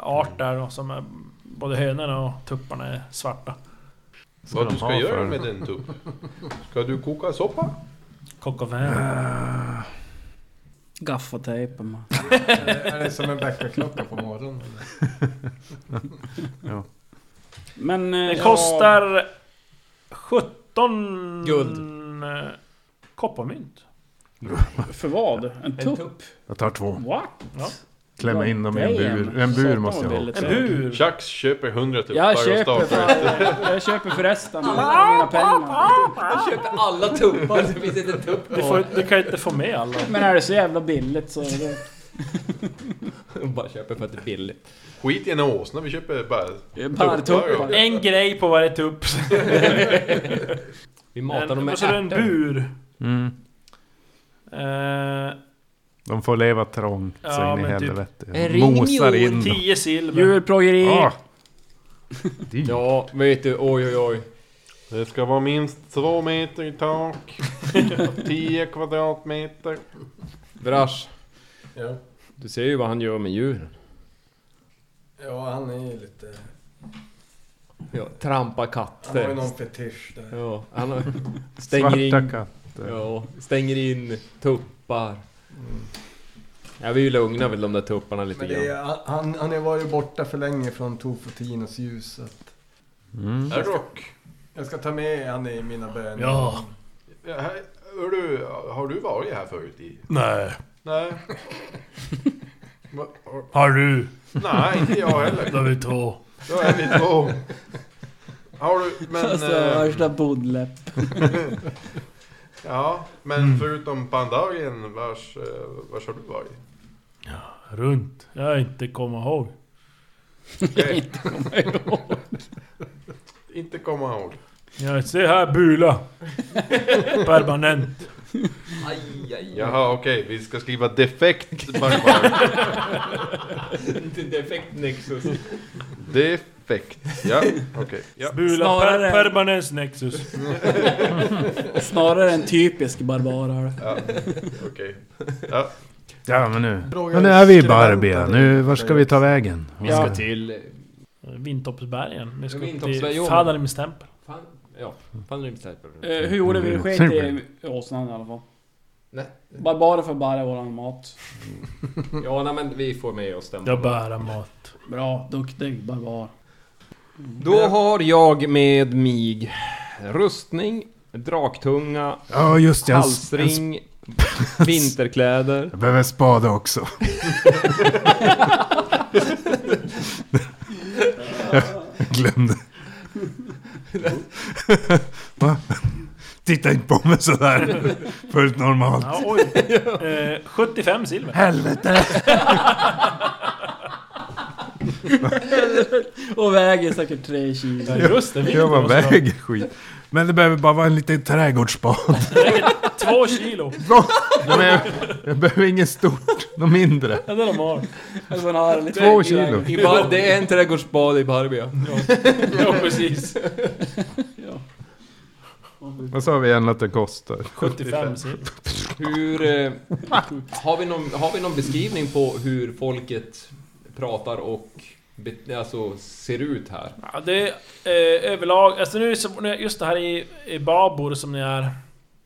Speaker 2: art där då, som är, både hönorna och tupparna är svarta.
Speaker 8: Vad du ska
Speaker 3: ha
Speaker 8: göra
Speaker 3: för-
Speaker 8: med den tupp? Ska du koka soppa?
Speaker 2: Coq au vin.
Speaker 4: Gaffatejpen man.
Speaker 7: Är det som en väckarklocka på morgonen?
Speaker 4: Men... eh,
Speaker 2: Det kostar 17...
Speaker 5: Guld.
Speaker 2: eh, Kopparmynt.
Speaker 4: För vad? En
Speaker 5: En
Speaker 4: tupp?
Speaker 5: tupp.
Speaker 3: Jag tar två.
Speaker 4: What?
Speaker 2: Ja.
Speaker 3: Klämma in dem i en
Speaker 4: Damn.
Speaker 3: bur. En bur
Speaker 4: Satan,
Speaker 3: måste jag
Speaker 4: vad
Speaker 3: ha.
Speaker 4: billigt
Speaker 2: En
Speaker 4: det är.
Speaker 2: bur.
Speaker 8: Chucks köper 100 tuppar
Speaker 4: Jag
Speaker 8: och
Speaker 4: köper,
Speaker 8: startar
Speaker 4: fan, jag köper förresten med mina
Speaker 2: Ah,
Speaker 4: pengar.
Speaker 5: Han köper alla tuppar, det finns inte en tupp
Speaker 2: Du, får,
Speaker 5: kvar.
Speaker 2: du kan ju inte få med alla.
Speaker 4: Men är det så jävla billigt så... är Det...
Speaker 5: Bara köper för att det är billigt.
Speaker 8: Skit i en åsna, vi köper bara...
Speaker 4: Barrtuppar.
Speaker 2: En grej på varje tupp.
Speaker 5: Vi matar dem
Speaker 2: En-
Speaker 5: med
Speaker 2: Och så är det en
Speaker 5: ärtor.
Speaker 2: bur.
Speaker 3: Mm.
Speaker 2: Eh,
Speaker 3: De får leva trångt
Speaker 2: Ja,
Speaker 3: så in i
Speaker 2: men typ-
Speaker 3: helvete.
Speaker 5: En
Speaker 3: Jag
Speaker 5: ring i
Speaker 3: Mosar
Speaker 5: år,
Speaker 3: in dem.
Speaker 2: 10 silver.
Speaker 4: Djurplågeri!
Speaker 3: Ah.
Speaker 5: Ja, vet du, oj oj oj.
Speaker 8: Det ska vara minst två meter i tak. 10 kvadratmeter.
Speaker 5: Brash.
Speaker 7: Ja.
Speaker 5: Du ser ju vad han gör med djuren.
Speaker 7: Ja, han är ju lite...
Speaker 5: Ja, trampa
Speaker 7: Han har ju
Speaker 5: katter.
Speaker 7: någon fetisch där.
Speaker 5: Ja, han har, stänger
Speaker 3: Svarta
Speaker 5: in,
Speaker 3: katter.
Speaker 5: ja, stänger in tuppar. Ja, vi lugnar väl de där tupparna lite
Speaker 7: Men det
Speaker 5: grann.
Speaker 7: är, han, han har varit borta för länge från Tofotinos ljus. Så att
Speaker 3: Mm.
Speaker 8: Är rock?
Speaker 7: jag ska ta med han i mina böner.
Speaker 2: Ja.
Speaker 8: Ja, här, hör du, har du varit här förut? I?
Speaker 2: Nej.
Speaker 8: Nej. Va- har-
Speaker 2: Har du?
Speaker 8: Nej, inte jag heller.
Speaker 2: Då är vi två.
Speaker 8: Då är vi två. Har du, men...
Speaker 4: Alltså
Speaker 8: eh,
Speaker 4: värsta bodläpp.
Speaker 8: Ja, men förutom Pandarien, vars, eh, vars har du varit?
Speaker 2: Runt. Jag inte kommer ihåg.
Speaker 8: Okej. Inte komma ihåg.
Speaker 2: Ja, se här Bula. Permanent.
Speaker 5: Aj, aj, aj.
Speaker 8: Jaha, okej, vi ska skriva defekt barbar.
Speaker 5: Inte defekt nexus.
Speaker 8: defekt, ja, okej. Ja.
Speaker 2: Bula
Speaker 4: Snarare-
Speaker 2: per, permanens nexus.
Speaker 4: Snarare en typisk barbar har du.
Speaker 8: Ja, okej. Ja,
Speaker 3: Ja, men nu.
Speaker 7: Fråga
Speaker 3: Men nu är vi i
Speaker 7: skribenten
Speaker 3: Barbie.
Speaker 7: där.
Speaker 3: Nu, var ska vi ta vägen?
Speaker 5: Vi ska till...
Speaker 2: Vintoppsbergen. Vi ska upp
Speaker 5: Vintoppsbergen,
Speaker 2: till
Speaker 5: jo.
Speaker 2: Fadalims tempel.
Speaker 5: Fan, ja, fan rymdstäpper.
Speaker 4: Eh, hur gjorde vi?
Speaker 3: Mm.
Speaker 4: Vi sket i åsnan i alla fall.
Speaker 5: Nej.
Speaker 4: Barbarer får bära våran mat.
Speaker 5: Ja, nej, men vi får med oss den.
Speaker 2: Jag bär mat.
Speaker 4: Bra, duktig barbar.
Speaker 5: Då har jag med mig rustning, draktunga,
Speaker 3: Ja, just det. Jag, s- jag, s-
Speaker 5: halsring, vinterkläder.
Speaker 3: jag behöver en spade också. jag glömde. Va? Titta inte på mig sådär. Fullt normalt.
Speaker 2: Ja, oj. Eh, 75 silver.
Speaker 3: Helvete!
Speaker 4: Och väger säkert tre kilo.
Speaker 2: Ja, just det,
Speaker 3: Jag
Speaker 2: vikten
Speaker 3: bara
Speaker 2: måste vara
Speaker 3: väger skit. Men det behöver bara vara en liten trädgårdsspad.
Speaker 2: två kilo.
Speaker 3: De är, jag behöver inget stort, något mindre.
Speaker 2: Ja, det är de har.
Speaker 4: Alltså man har lite...
Speaker 3: Två kilo.
Speaker 5: I Bar- det är en trädgårdsbad i Barbia.
Speaker 2: Ja, precis.
Speaker 3: Vad sa vi igen att det kostar?
Speaker 2: 75 kilo.
Speaker 5: Hur... Eh, har, vi någon, har vi någon beskrivning på hur folket pratar och be, alltså, ser ut här?
Speaker 2: Ja, det är eh, överlag... Alltså nu, är så- nu är- just det här i, i Babor som ni är.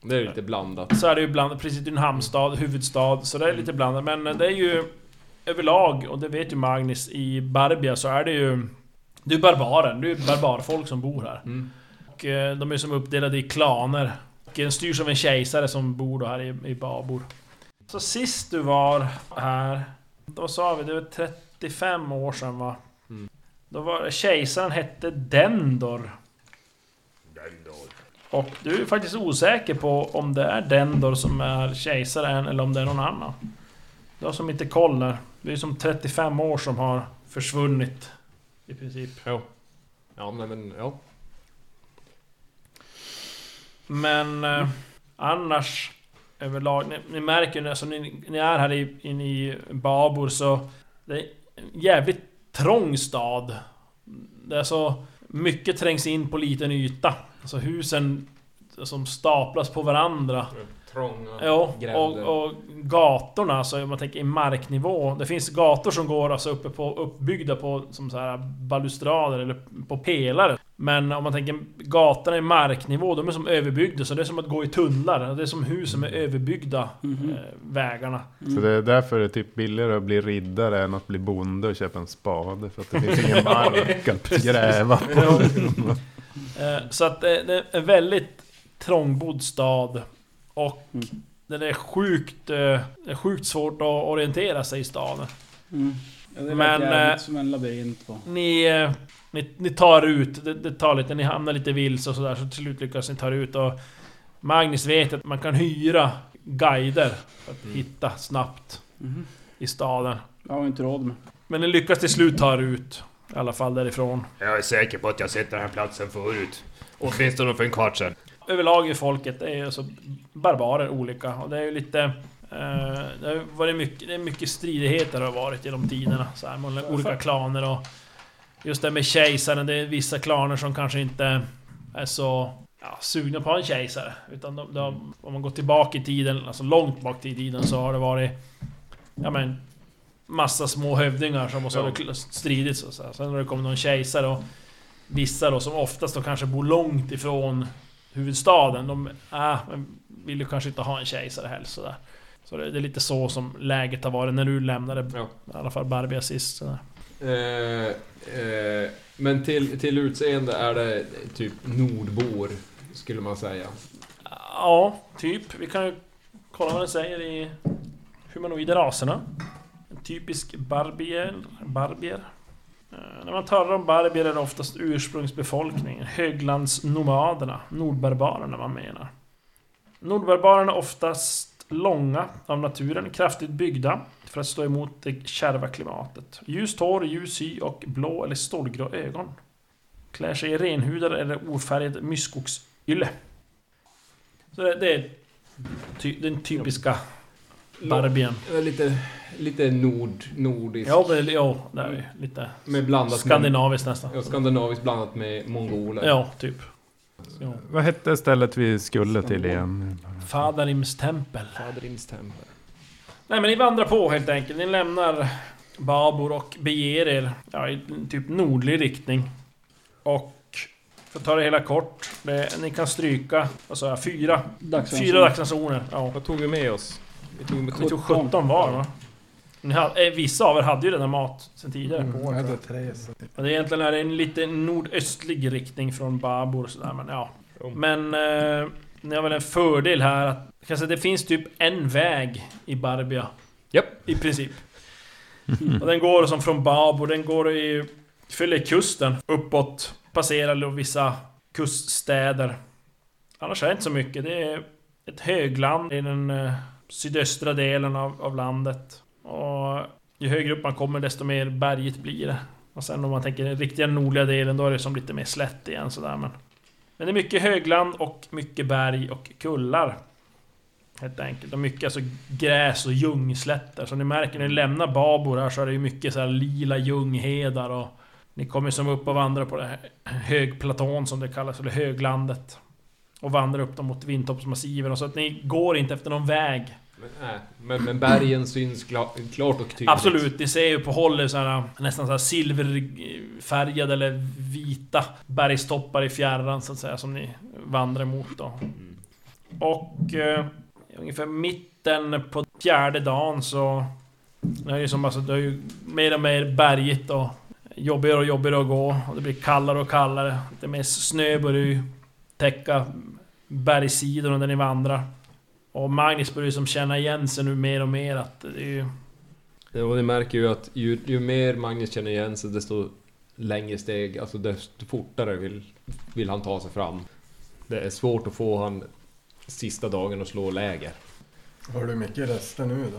Speaker 5: Det är lite blandat.
Speaker 2: Så är det ju blandat, precis det är en hamnstad, huvudstad, så det är lite blandat. Men eh, det är ju överlag, och det vet ju Magnus, i Barbia så är det ju... Det är barbaren, det är ju barbarfolk som bor här.
Speaker 5: Mm.
Speaker 2: Och eh, de är som uppdelade i klaner. Och en styrs av en kejsare som bor då här i, i Babor. Så sist du var här, då sa vi det var 35 år sedan va?
Speaker 5: Mm.
Speaker 2: Då var det- kejsaren hette Dendor. Och du är faktiskt osäker på om det är Dendor som är kejsaren eller om det är någon annan. Du har som inte koll där. Det är som 35 år som har försvunnit. I princip.
Speaker 5: Ja, nej, men ja.
Speaker 2: Men eh, annars överlag, ni, ni märker ju när ni, ni är här i- inne i Babor så det är en jävligt trång stad. Det är så mycket trängs in på liten yta. Alltså husen som staplas på varandra.
Speaker 5: Trånga
Speaker 2: Ja, och, och gatorna, alltså om man tänker i marknivå. Det finns gator som går alltså uppe på, uppbyggda på som så här balustrader eller på pelare. Men om man tänker gatorna i marknivå, de är som överbyggda. Så det är som att gå i tunnlar. Det är som hus som är överbyggda, eh, vägarna.
Speaker 5: Mm.
Speaker 3: Så det är därför det är typ billigare att bli riddare än att bli bonde och köpa en spade. För att det finns ingen mark att gräva på.
Speaker 2: Eh, Så att det det är en väldigt trångbodd stad. Och den är sjukt, eh, det är sjukt svårt att orientera sig i staden.
Speaker 4: Mm. Ja, det
Speaker 2: Men,
Speaker 4: Men...
Speaker 2: eh,
Speaker 4: Jävligt, som en labyrint på.
Speaker 2: Ni, eh, ni, ni tar ut, det, det tar lite, ni hamnar lite vilse och sådär så till slut lyckas ni ta er ut och Magnus vet att man kan hyra guider för att hitta snabbt
Speaker 4: Mhm.
Speaker 2: i staden.
Speaker 4: Jag har ju inte råd med.
Speaker 2: Men ni lyckas till slut ta er ut i alla fall därifrån.
Speaker 6: Jag är säker på att jag sett den här platsen förut. Åtminstone för en kvart sedan.
Speaker 2: Överlag i folket det är ju alltså barbarer olika och det är ju lite eh, det har varit mycket, det är mycket stridigheter har varit genom tiderna så här, mellan olika klaner och Just det med kejsaren, det är vissa klaner som kanske inte är så ja, sugna på en kejsare. Utan de, de, om man går tillbaka i tiden, alltså långt bak i tiden, så har det varit... Ja men... Massa små hövdingar som också har det kl- stridits och så här. Sen har det kommit någon kejsare och... Vissa då som oftast då kanske bor långt ifrån huvudstaden, de äh, men vill ju kanske inte ha en kejsare heller sådär. Så det, det är lite så som läget har varit när du lämnade
Speaker 5: Ja.
Speaker 2: i alla fall Barbia sist. Sådär.
Speaker 5: Eh, eh, men till, till utseende är det typ nordbor, skulle man säga.
Speaker 2: Ja, typ. Vi kan ju kolla vad den säger i humanoida raserna. En typisk barbier. barbier. Eh, När man talar om barbier är det oftast ursprungsbefolkningen, höglandsnomaderna, nordbarbarerna man menar. Nordbarbarerna är oftast långa av naturen, kraftigt byggda för att stå emot det kärva klimatet. Ljust hår, ljus hy och blå eller stålgrå ögon. Klär sig i renhudade eller ofärgad myskogsylle. Så det, det är ty, den typiska Barbien.
Speaker 5: Eh, Lite, lite nord, nordisk.
Speaker 2: Ja, Mm. men ja, det är ju lite
Speaker 5: Med blandat
Speaker 2: skandinaviskt nästan.
Speaker 5: Med, ja, skandinaviskt blandat med mongoler.
Speaker 2: Ja, typ. Ja.
Speaker 3: Vad hette stället vi skulle till igen?
Speaker 2: Fadarims tempel.
Speaker 5: Fadrimstempel.
Speaker 2: Nej men ni vandrar på helt enkelt. Ni lämnar Babor och beger er ja, i typ nordlig riktning. Och för att ta det hela kort. Det, ni kan stryka, vad sa jag, fyra?
Speaker 4: Dagsranson.
Speaker 2: Fyra dagsransoner. Ja.
Speaker 5: Vad tog vi med oss? Vi tog med
Speaker 2: Ni tog 17 var va? Ni hade, eh, vissa av er hade ju redan mat sen tidigare.
Speaker 7: Mm, Jag hade tre. Så.
Speaker 2: Men det är egentligen är det en lite nordöstlig riktning från Babor och sådär men ja. Men eh, ni har väl en fördel här att jag kan säga, det finns typ en väg i Barbia.
Speaker 5: Japp.
Speaker 2: I princip. och den går som från Babor, den går i... Följer kusten uppåt. Passerar då vissa kuststäder. Annars är det inte så mycket. Det är ett högland i den eh, sydöstra delen av, av landet. Och ju högre upp man kommer desto mer bergigt blir det. Och sen om man tänker den riktiga nordliga delen, då är det som lite mer slätt igen sådär men... Men det är mycket högland och mycket berg och kullar. Helt enkelt. Och mycket alltså gräs och ljungslätter. Som ni märker när ni lämnar Babor här så är det ju mycket så här lila ljunghedar och... Ni kommer som upp och vandrar på det här högplatån som det kallas, eller höglandet. Och vandrar upp dem mot Vindtoppsmassiven och så att ni går inte efter någon väg.
Speaker 5: Men, nej, men, men bergen syns kla, klart och tydligt.
Speaker 2: Absolut, ni ser ju på håll är så här, nästan så här silverfärgade eller vita bergstoppar i fjärran så att säga som ni vandrar mot då. Och eh, ungefär mitten på fjärde dagen så... Det är ju som alltså, det är ju mer och mer bergigt och jobbigare och jobbigare att gå och det blir kallare och kallare. Det mer snö börjar ju täcka bergssidorna där ni vandrar. Och Magnus börjar ju som känna igen sig nu mer och mer att det är ju...
Speaker 5: Ja, och ni märker ju att ju, ju mer Magnus känner igen sig desto längre steg, alltså desto fortare vill, vill han ta sig fram. Det är svårt att få han sista dagen att slå läger.
Speaker 7: Har du mycket rester nu då?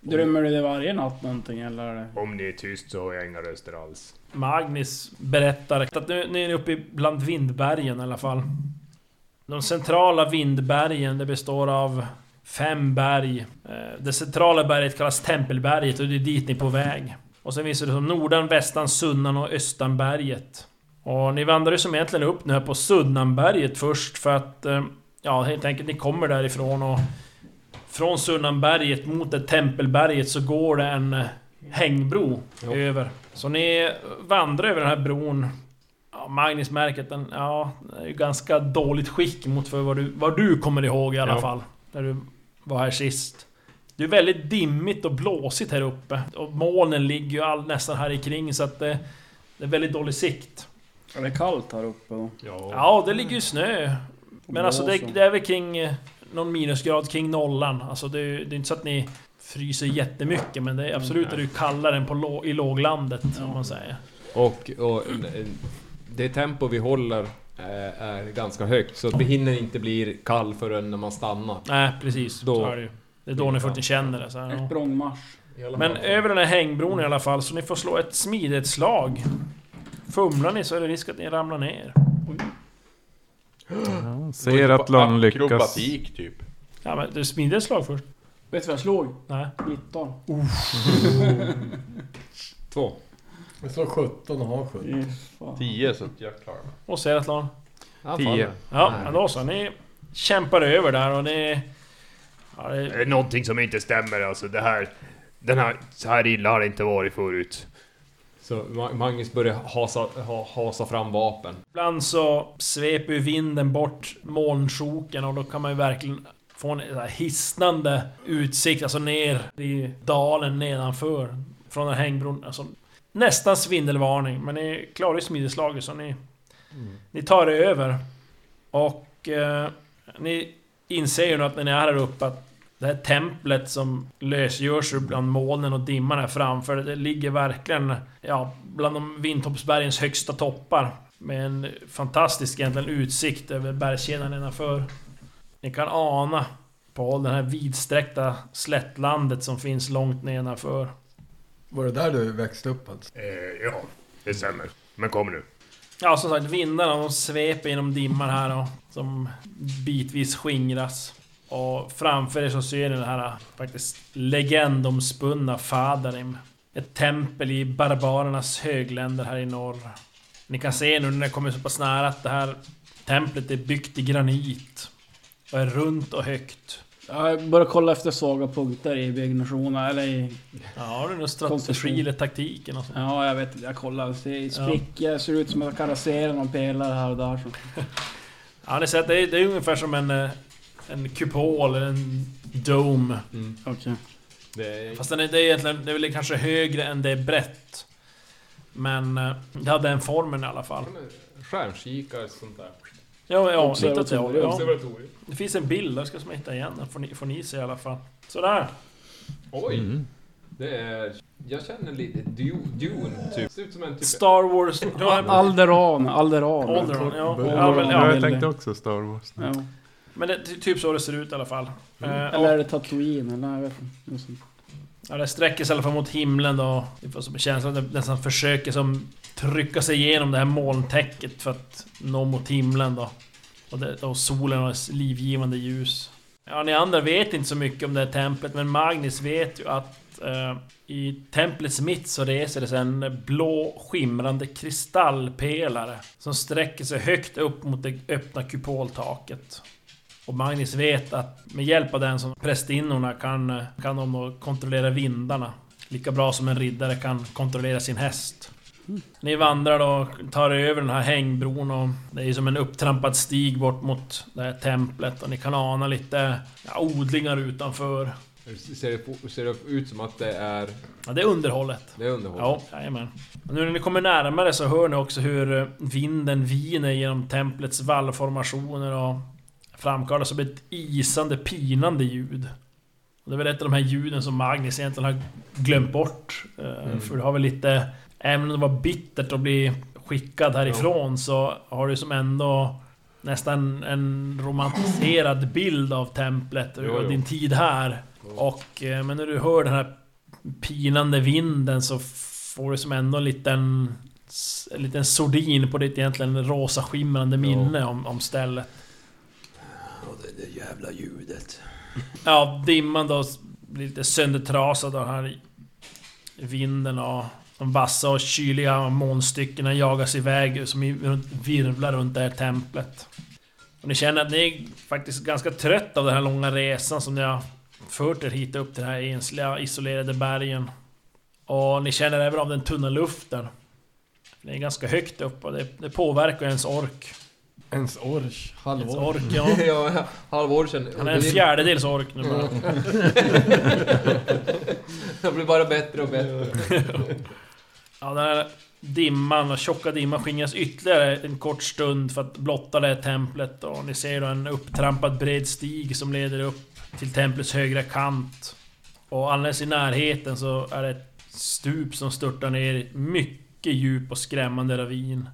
Speaker 4: Drömmer du det varje natt någonting eller?
Speaker 6: Om ni är tyst så har jag inga röster alls.
Speaker 2: Magnus berättar att nu, nu är ni uppe i- bland vindbergen i alla fall. De centrala vindbergen, det består av fem berg. Eh, Det centrala berget kallas Tempelberget och det är dit ni är på väg. Och sen finns det som Nordan, Västan, Sunnan och Östanberget. Och ni vandrar ju som egentligen upp nu här på Sunnanberget först för att... eh, Ja, helt enkelt, ni kommer därifrån och... Från Sunnanberget mot det Tempelberget så går det en eh, hängbro
Speaker 5: Jo.
Speaker 2: över. Så ni vandrar över den här bron. Ja, Magnus märker att den, ja, den är ju ganska dåligt skick mot för vad du, vad du kommer ihåg i alla
Speaker 5: Ja.
Speaker 2: fall. När du var här sist. Det är väldigt dimmigt och blåsigt här uppe. Och molnen ligger ju all, nästan här i kring så att det, det är väldigt dålig sikt.
Speaker 4: Är det kallt här uppe då?
Speaker 2: Ja, det ligger ju snö. Men alltså det,
Speaker 4: Blåser.
Speaker 2: det är väl kring eh, någon minusgrad kring nollan. Alltså det, är ju- det är inte så att ni fryser jättemycket men det är absolut är det ju kallare än på, lå- i låglandet om man säger.
Speaker 5: Och, och äh, det tempo vi håller eh, är ganska högt så att vi hinner inte bli kall förrän när man stannar.
Speaker 2: Nej, precis.
Speaker 5: Då-
Speaker 2: Så är det, ju. det är då ni får inte känner det. Så här, ja.
Speaker 4: Ett språngmarsch.
Speaker 2: Men eh, över den här hängbron i alla fall, så ni får slå ett smidighetsslag. Fumlar ni så är det risk att ni ramlar ner.
Speaker 3: Ja, ser att Lång lyckas.
Speaker 8: Akrobatik typ.
Speaker 2: Ja men det är smidighetsslag först.
Speaker 4: Vet du vad jag slog?
Speaker 2: Nej.
Speaker 4: 19.
Speaker 5: Två.
Speaker 7: Vi slår 17 och har 17.
Speaker 4: Fy fan.
Speaker 8: 10 så att jag klarar mig.
Speaker 2: Och Seratlon.
Speaker 5: Han
Speaker 3: Tio.
Speaker 5: faller.
Speaker 2: Ja, men då så. Ni kämpar över där och ni... Ja,
Speaker 6: Det
Speaker 2: det,
Speaker 6: är någonting som inte stämmer alltså. Det här... Den här... Så här illa har det inte varit förut.
Speaker 5: Så Ma- Magnus börjar hasa, ha, hasa fram vapen.
Speaker 2: ibland så sveper ju vinden bort molnsjoken och då kan man ju verkligen få en så här hisnande utsikt, alltså ner i dalen nedanför. Från den här hängbron. Alltså, nästan svindelvarning, men ni klarar ju smideslaget så ni... Ni tar er över. Och eh, ni inser ju nu att när ni är här uppe att det här templet som lösgörs ur bland molnen och dimman här framför, det ligger verkligen ja, bland de Vindtoppsbergens högsta toppar. Med en fantastisk egentligen utsikt över bergskedjan nedanför. Ni kan ana på håll det här vidsträckta slättlandet som finns långt nedanför.
Speaker 7: Var det där du växte upp alltså?
Speaker 6: Eh, ja, det stämmer. Men kom nu.
Speaker 2: Ja, som sagt, vindarna de sveper genom dimman här då, som bitvis skingras. Och framför er så ser ni den här faktiskt legendomspunna Fadarim. Ett tempel i barbarernas högländer här i norr. Ni kan se nu när det kommer så pass nära att det här templet är byggt i granit. Och är runt och högt.
Speaker 4: Jag börjar kolla efter svaga punkter i byggnationen, eller i...
Speaker 2: Ja, har du någon
Speaker 4: Konstruktion.
Speaker 2: strategi eller taktik eller något sånt?
Speaker 4: Ja, jag vet Jag kollar. Ser sprickor, ser ut som att jag kan rasera någon pelare här och där. Så.
Speaker 2: Ja, ni ser att det är, det är ungefär som en, eh, en kupol eller en dome.
Speaker 4: Okej.
Speaker 5: Det är,
Speaker 2: Fast den är, det är egentligen, det är väl kanske högre än det är brett. Men eh, det hade den formen i alla fall.
Speaker 5: stjärnkikare och sånt där.
Speaker 2: Ja, ja, lite åt det hållet,
Speaker 4: Observatorium.
Speaker 2: ja.
Speaker 5: Observatorium.
Speaker 2: Det finns en bild där, jag ska som hitta igen den. Får ni, får ni se i alla fall. Sådär.
Speaker 5: Oj! Det är... Jag känner lite Du- Dune, typ. Ser ut som en typ...
Speaker 2: Star Wars... Ja, men-
Speaker 4: Alderan,
Speaker 2: Alderan,
Speaker 4: Alderan.
Speaker 2: ja.
Speaker 4: Alderan.
Speaker 2: ja, men,
Speaker 3: Ja,
Speaker 2: ja.
Speaker 3: jag tänkte också Star Wars.
Speaker 4: Ja.
Speaker 2: men det, ty- typ så det ser ut i alla fall. Eh,
Speaker 4: Mm. Eller
Speaker 2: och-
Speaker 4: är det Tatooine? Eller nej, jag vet inte. Just det.
Speaker 2: Ja, det sträcker sig i alla fall mot himlen då. Det får som känslan att det nästan försöker som trycka sig igenom det här molntäcket för att nå mot himlen då. Och, det, och solen har ett livgivande ljus. Ja, ni andra vet inte så mycket om det här templet, men Magnus vet ju att eh, i templets mitt så reser det sig en blå skimrande kristallpelare som sträcker sig högt upp mot det öppna kupoltaket. Och Magnus vet att med hjälp av den som prästinnorna kan, kan de då kontrollera vindarna. Lika bra som en riddare kan kontrollera sin häst. Ni vandrar då, tar er över den här hängbron och det är som en upptrampad stig bort mot det här templet och ni kan ana lite ja, odlingar utanför.
Speaker 5: Ser det, ser det ut som att det är...
Speaker 2: Ja, det är underhållet.
Speaker 5: Det är underhåll?
Speaker 2: Ja, jajamän. Och nu när ni kommer närmare så hör ni också hur eh, vinden viner genom templets vallformationer och framkallar som ett isande, pinande ljud. Och det är väl ett av de här ljuden som Magnus egentligen har glömt bort. eh,
Speaker 5: Mm.
Speaker 2: För det har väl lite... Även om det var bittert att bli skickad härifrån så har du som ändå nästan en romantiserad bild av templet och
Speaker 5: Jo, jo.
Speaker 2: din tid här. Och, eh, men när du hör den här pinande vinden så får du som ändå en liten... En liten sordin på ditt egentligen rosa skimrande minne om, om stället.
Speaker 4: det där jävla ljudet.
Speaker 2: Ja, dimman då blir lite söndertrasad av den här vinden och de vassa och kyliga månstyckena jagas iväg som i- runt- virvlar runt det här templet. Och ni känner att ni är faktiskt ganska trött av den här långa resan som ni har fört er hit upp till den här ensliga, isolerade bergen. Och ni känner även av den tunna luften. Det är ganska högt upp och det, det påverkar ens ork.
Speaker 7: Ens orch.
Speaker 2: Ens
Speaker 5: Halvår.
Speaker 2: ork, ja.
Speaker 5: ja, halvår sedan.
Speaker 2: Han är en fjärdedels ork nu bara.
Speaker 5: Det blir bara bättre och bättre.
Speaker 2: Ja, den här dimman, den tjocka dimman skingras ytterligare en kort stund för att blotta det här templet. Och ni ser då en upptrampad bred stig som leder upp till templets högra kant. Och alldeles i närheten så är det ett stup som störtar ner i ett mycket djup och skrämmande ravin.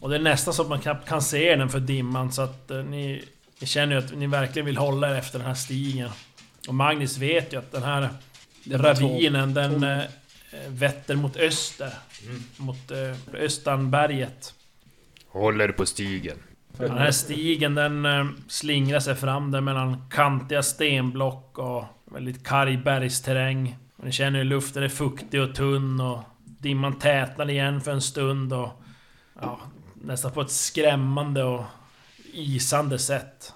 Speaker 2: Och det är nästan så att man knappt kan se den för dimman så att eh, ni, ni känner ju att ni verkligen vill hålla er efter den här stigen. Och Magnus vet ju att den här ravinen den eh, vetter mot öster. Mot eh, Östanberget.
Speaker 6: Håller på stigen.
Speaker 2: Den här stigen den eh, slingrar sig fram där mellan kantiga stenblock och väldigt karg bergsterräng. Och Ni känner hur luften är fuktig och tunn och dimman tätnar igen för en stund och ja, nästan på ett skrämmande och isande sätt.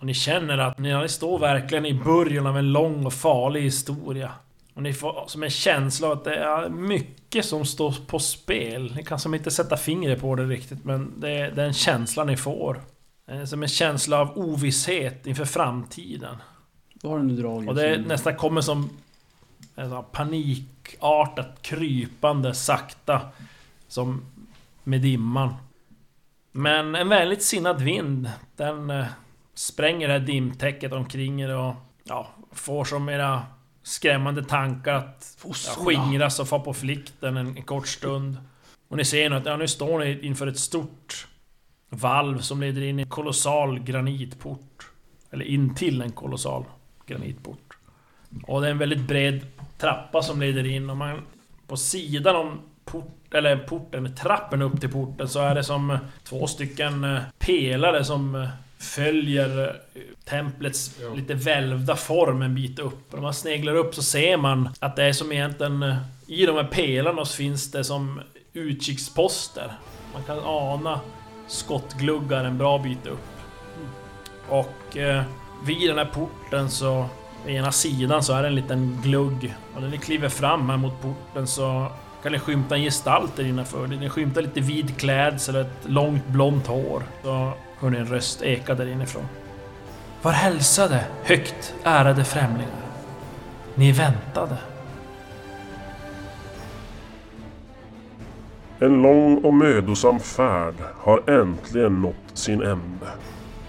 Speaker 2: Och ni känner att ni ni står verkligen i början av en lång och farlig historia. Och ni får som en känsla av att det är mycket som står på spel. Ni kan som inte sätta fingret på det riktigt, men det är den känslan ni får. Eh, Som en känsla av ovisshet inför framtiden.
Speaker 4: Då har den nu dragit.
Speaker 2: Och det nästan kommer som en sån här panikartat krypande sakta som med dimman. Men en väldigt sinnad vind, den eh, spränger det här dimtäcket omkring er och ja, får som era skrämmande tankar att ja, skingras och få på flikten en, en kort stund. Och ni ser nu att ja, nu står ni inför ett stort valv som leder in i en kolossal granitport. Eller in till en kolossal granitport. Och det är en väldigt bred trappa som leder in och man... På sidan om port, eller porten, trappen upp till porten så är det som två stycken eh, pelare som eh, följer eh, templets lite välvda form en bit upp. Och när man sneglar upp så ser man att det är som egentligen... eh, I de här pelarna så finns det som utkiksposter. Man kan ana skottgluggar en bra bit upp. Och eh, vid den här porten så, på ena sidan så är det en liten glugg. Och när ni kliver fram här mot porten så kan ni skymta en gestalt där innanför. Ni skymtar lite vid klädsel och ett långt blont hår. Så hör ni en röst eka där inifrån. Var hälsade, högt ärade främlingar. Ni väntade.
Speaker 1: En lång och mödosam färd har äntligen nått sin ände.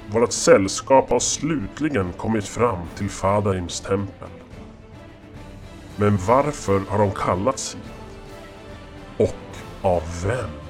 Speaker 1: Vårt sällskap har slutligen kommit fram till Fadarims tempel. Men varför har de kallats hit? Och av vem?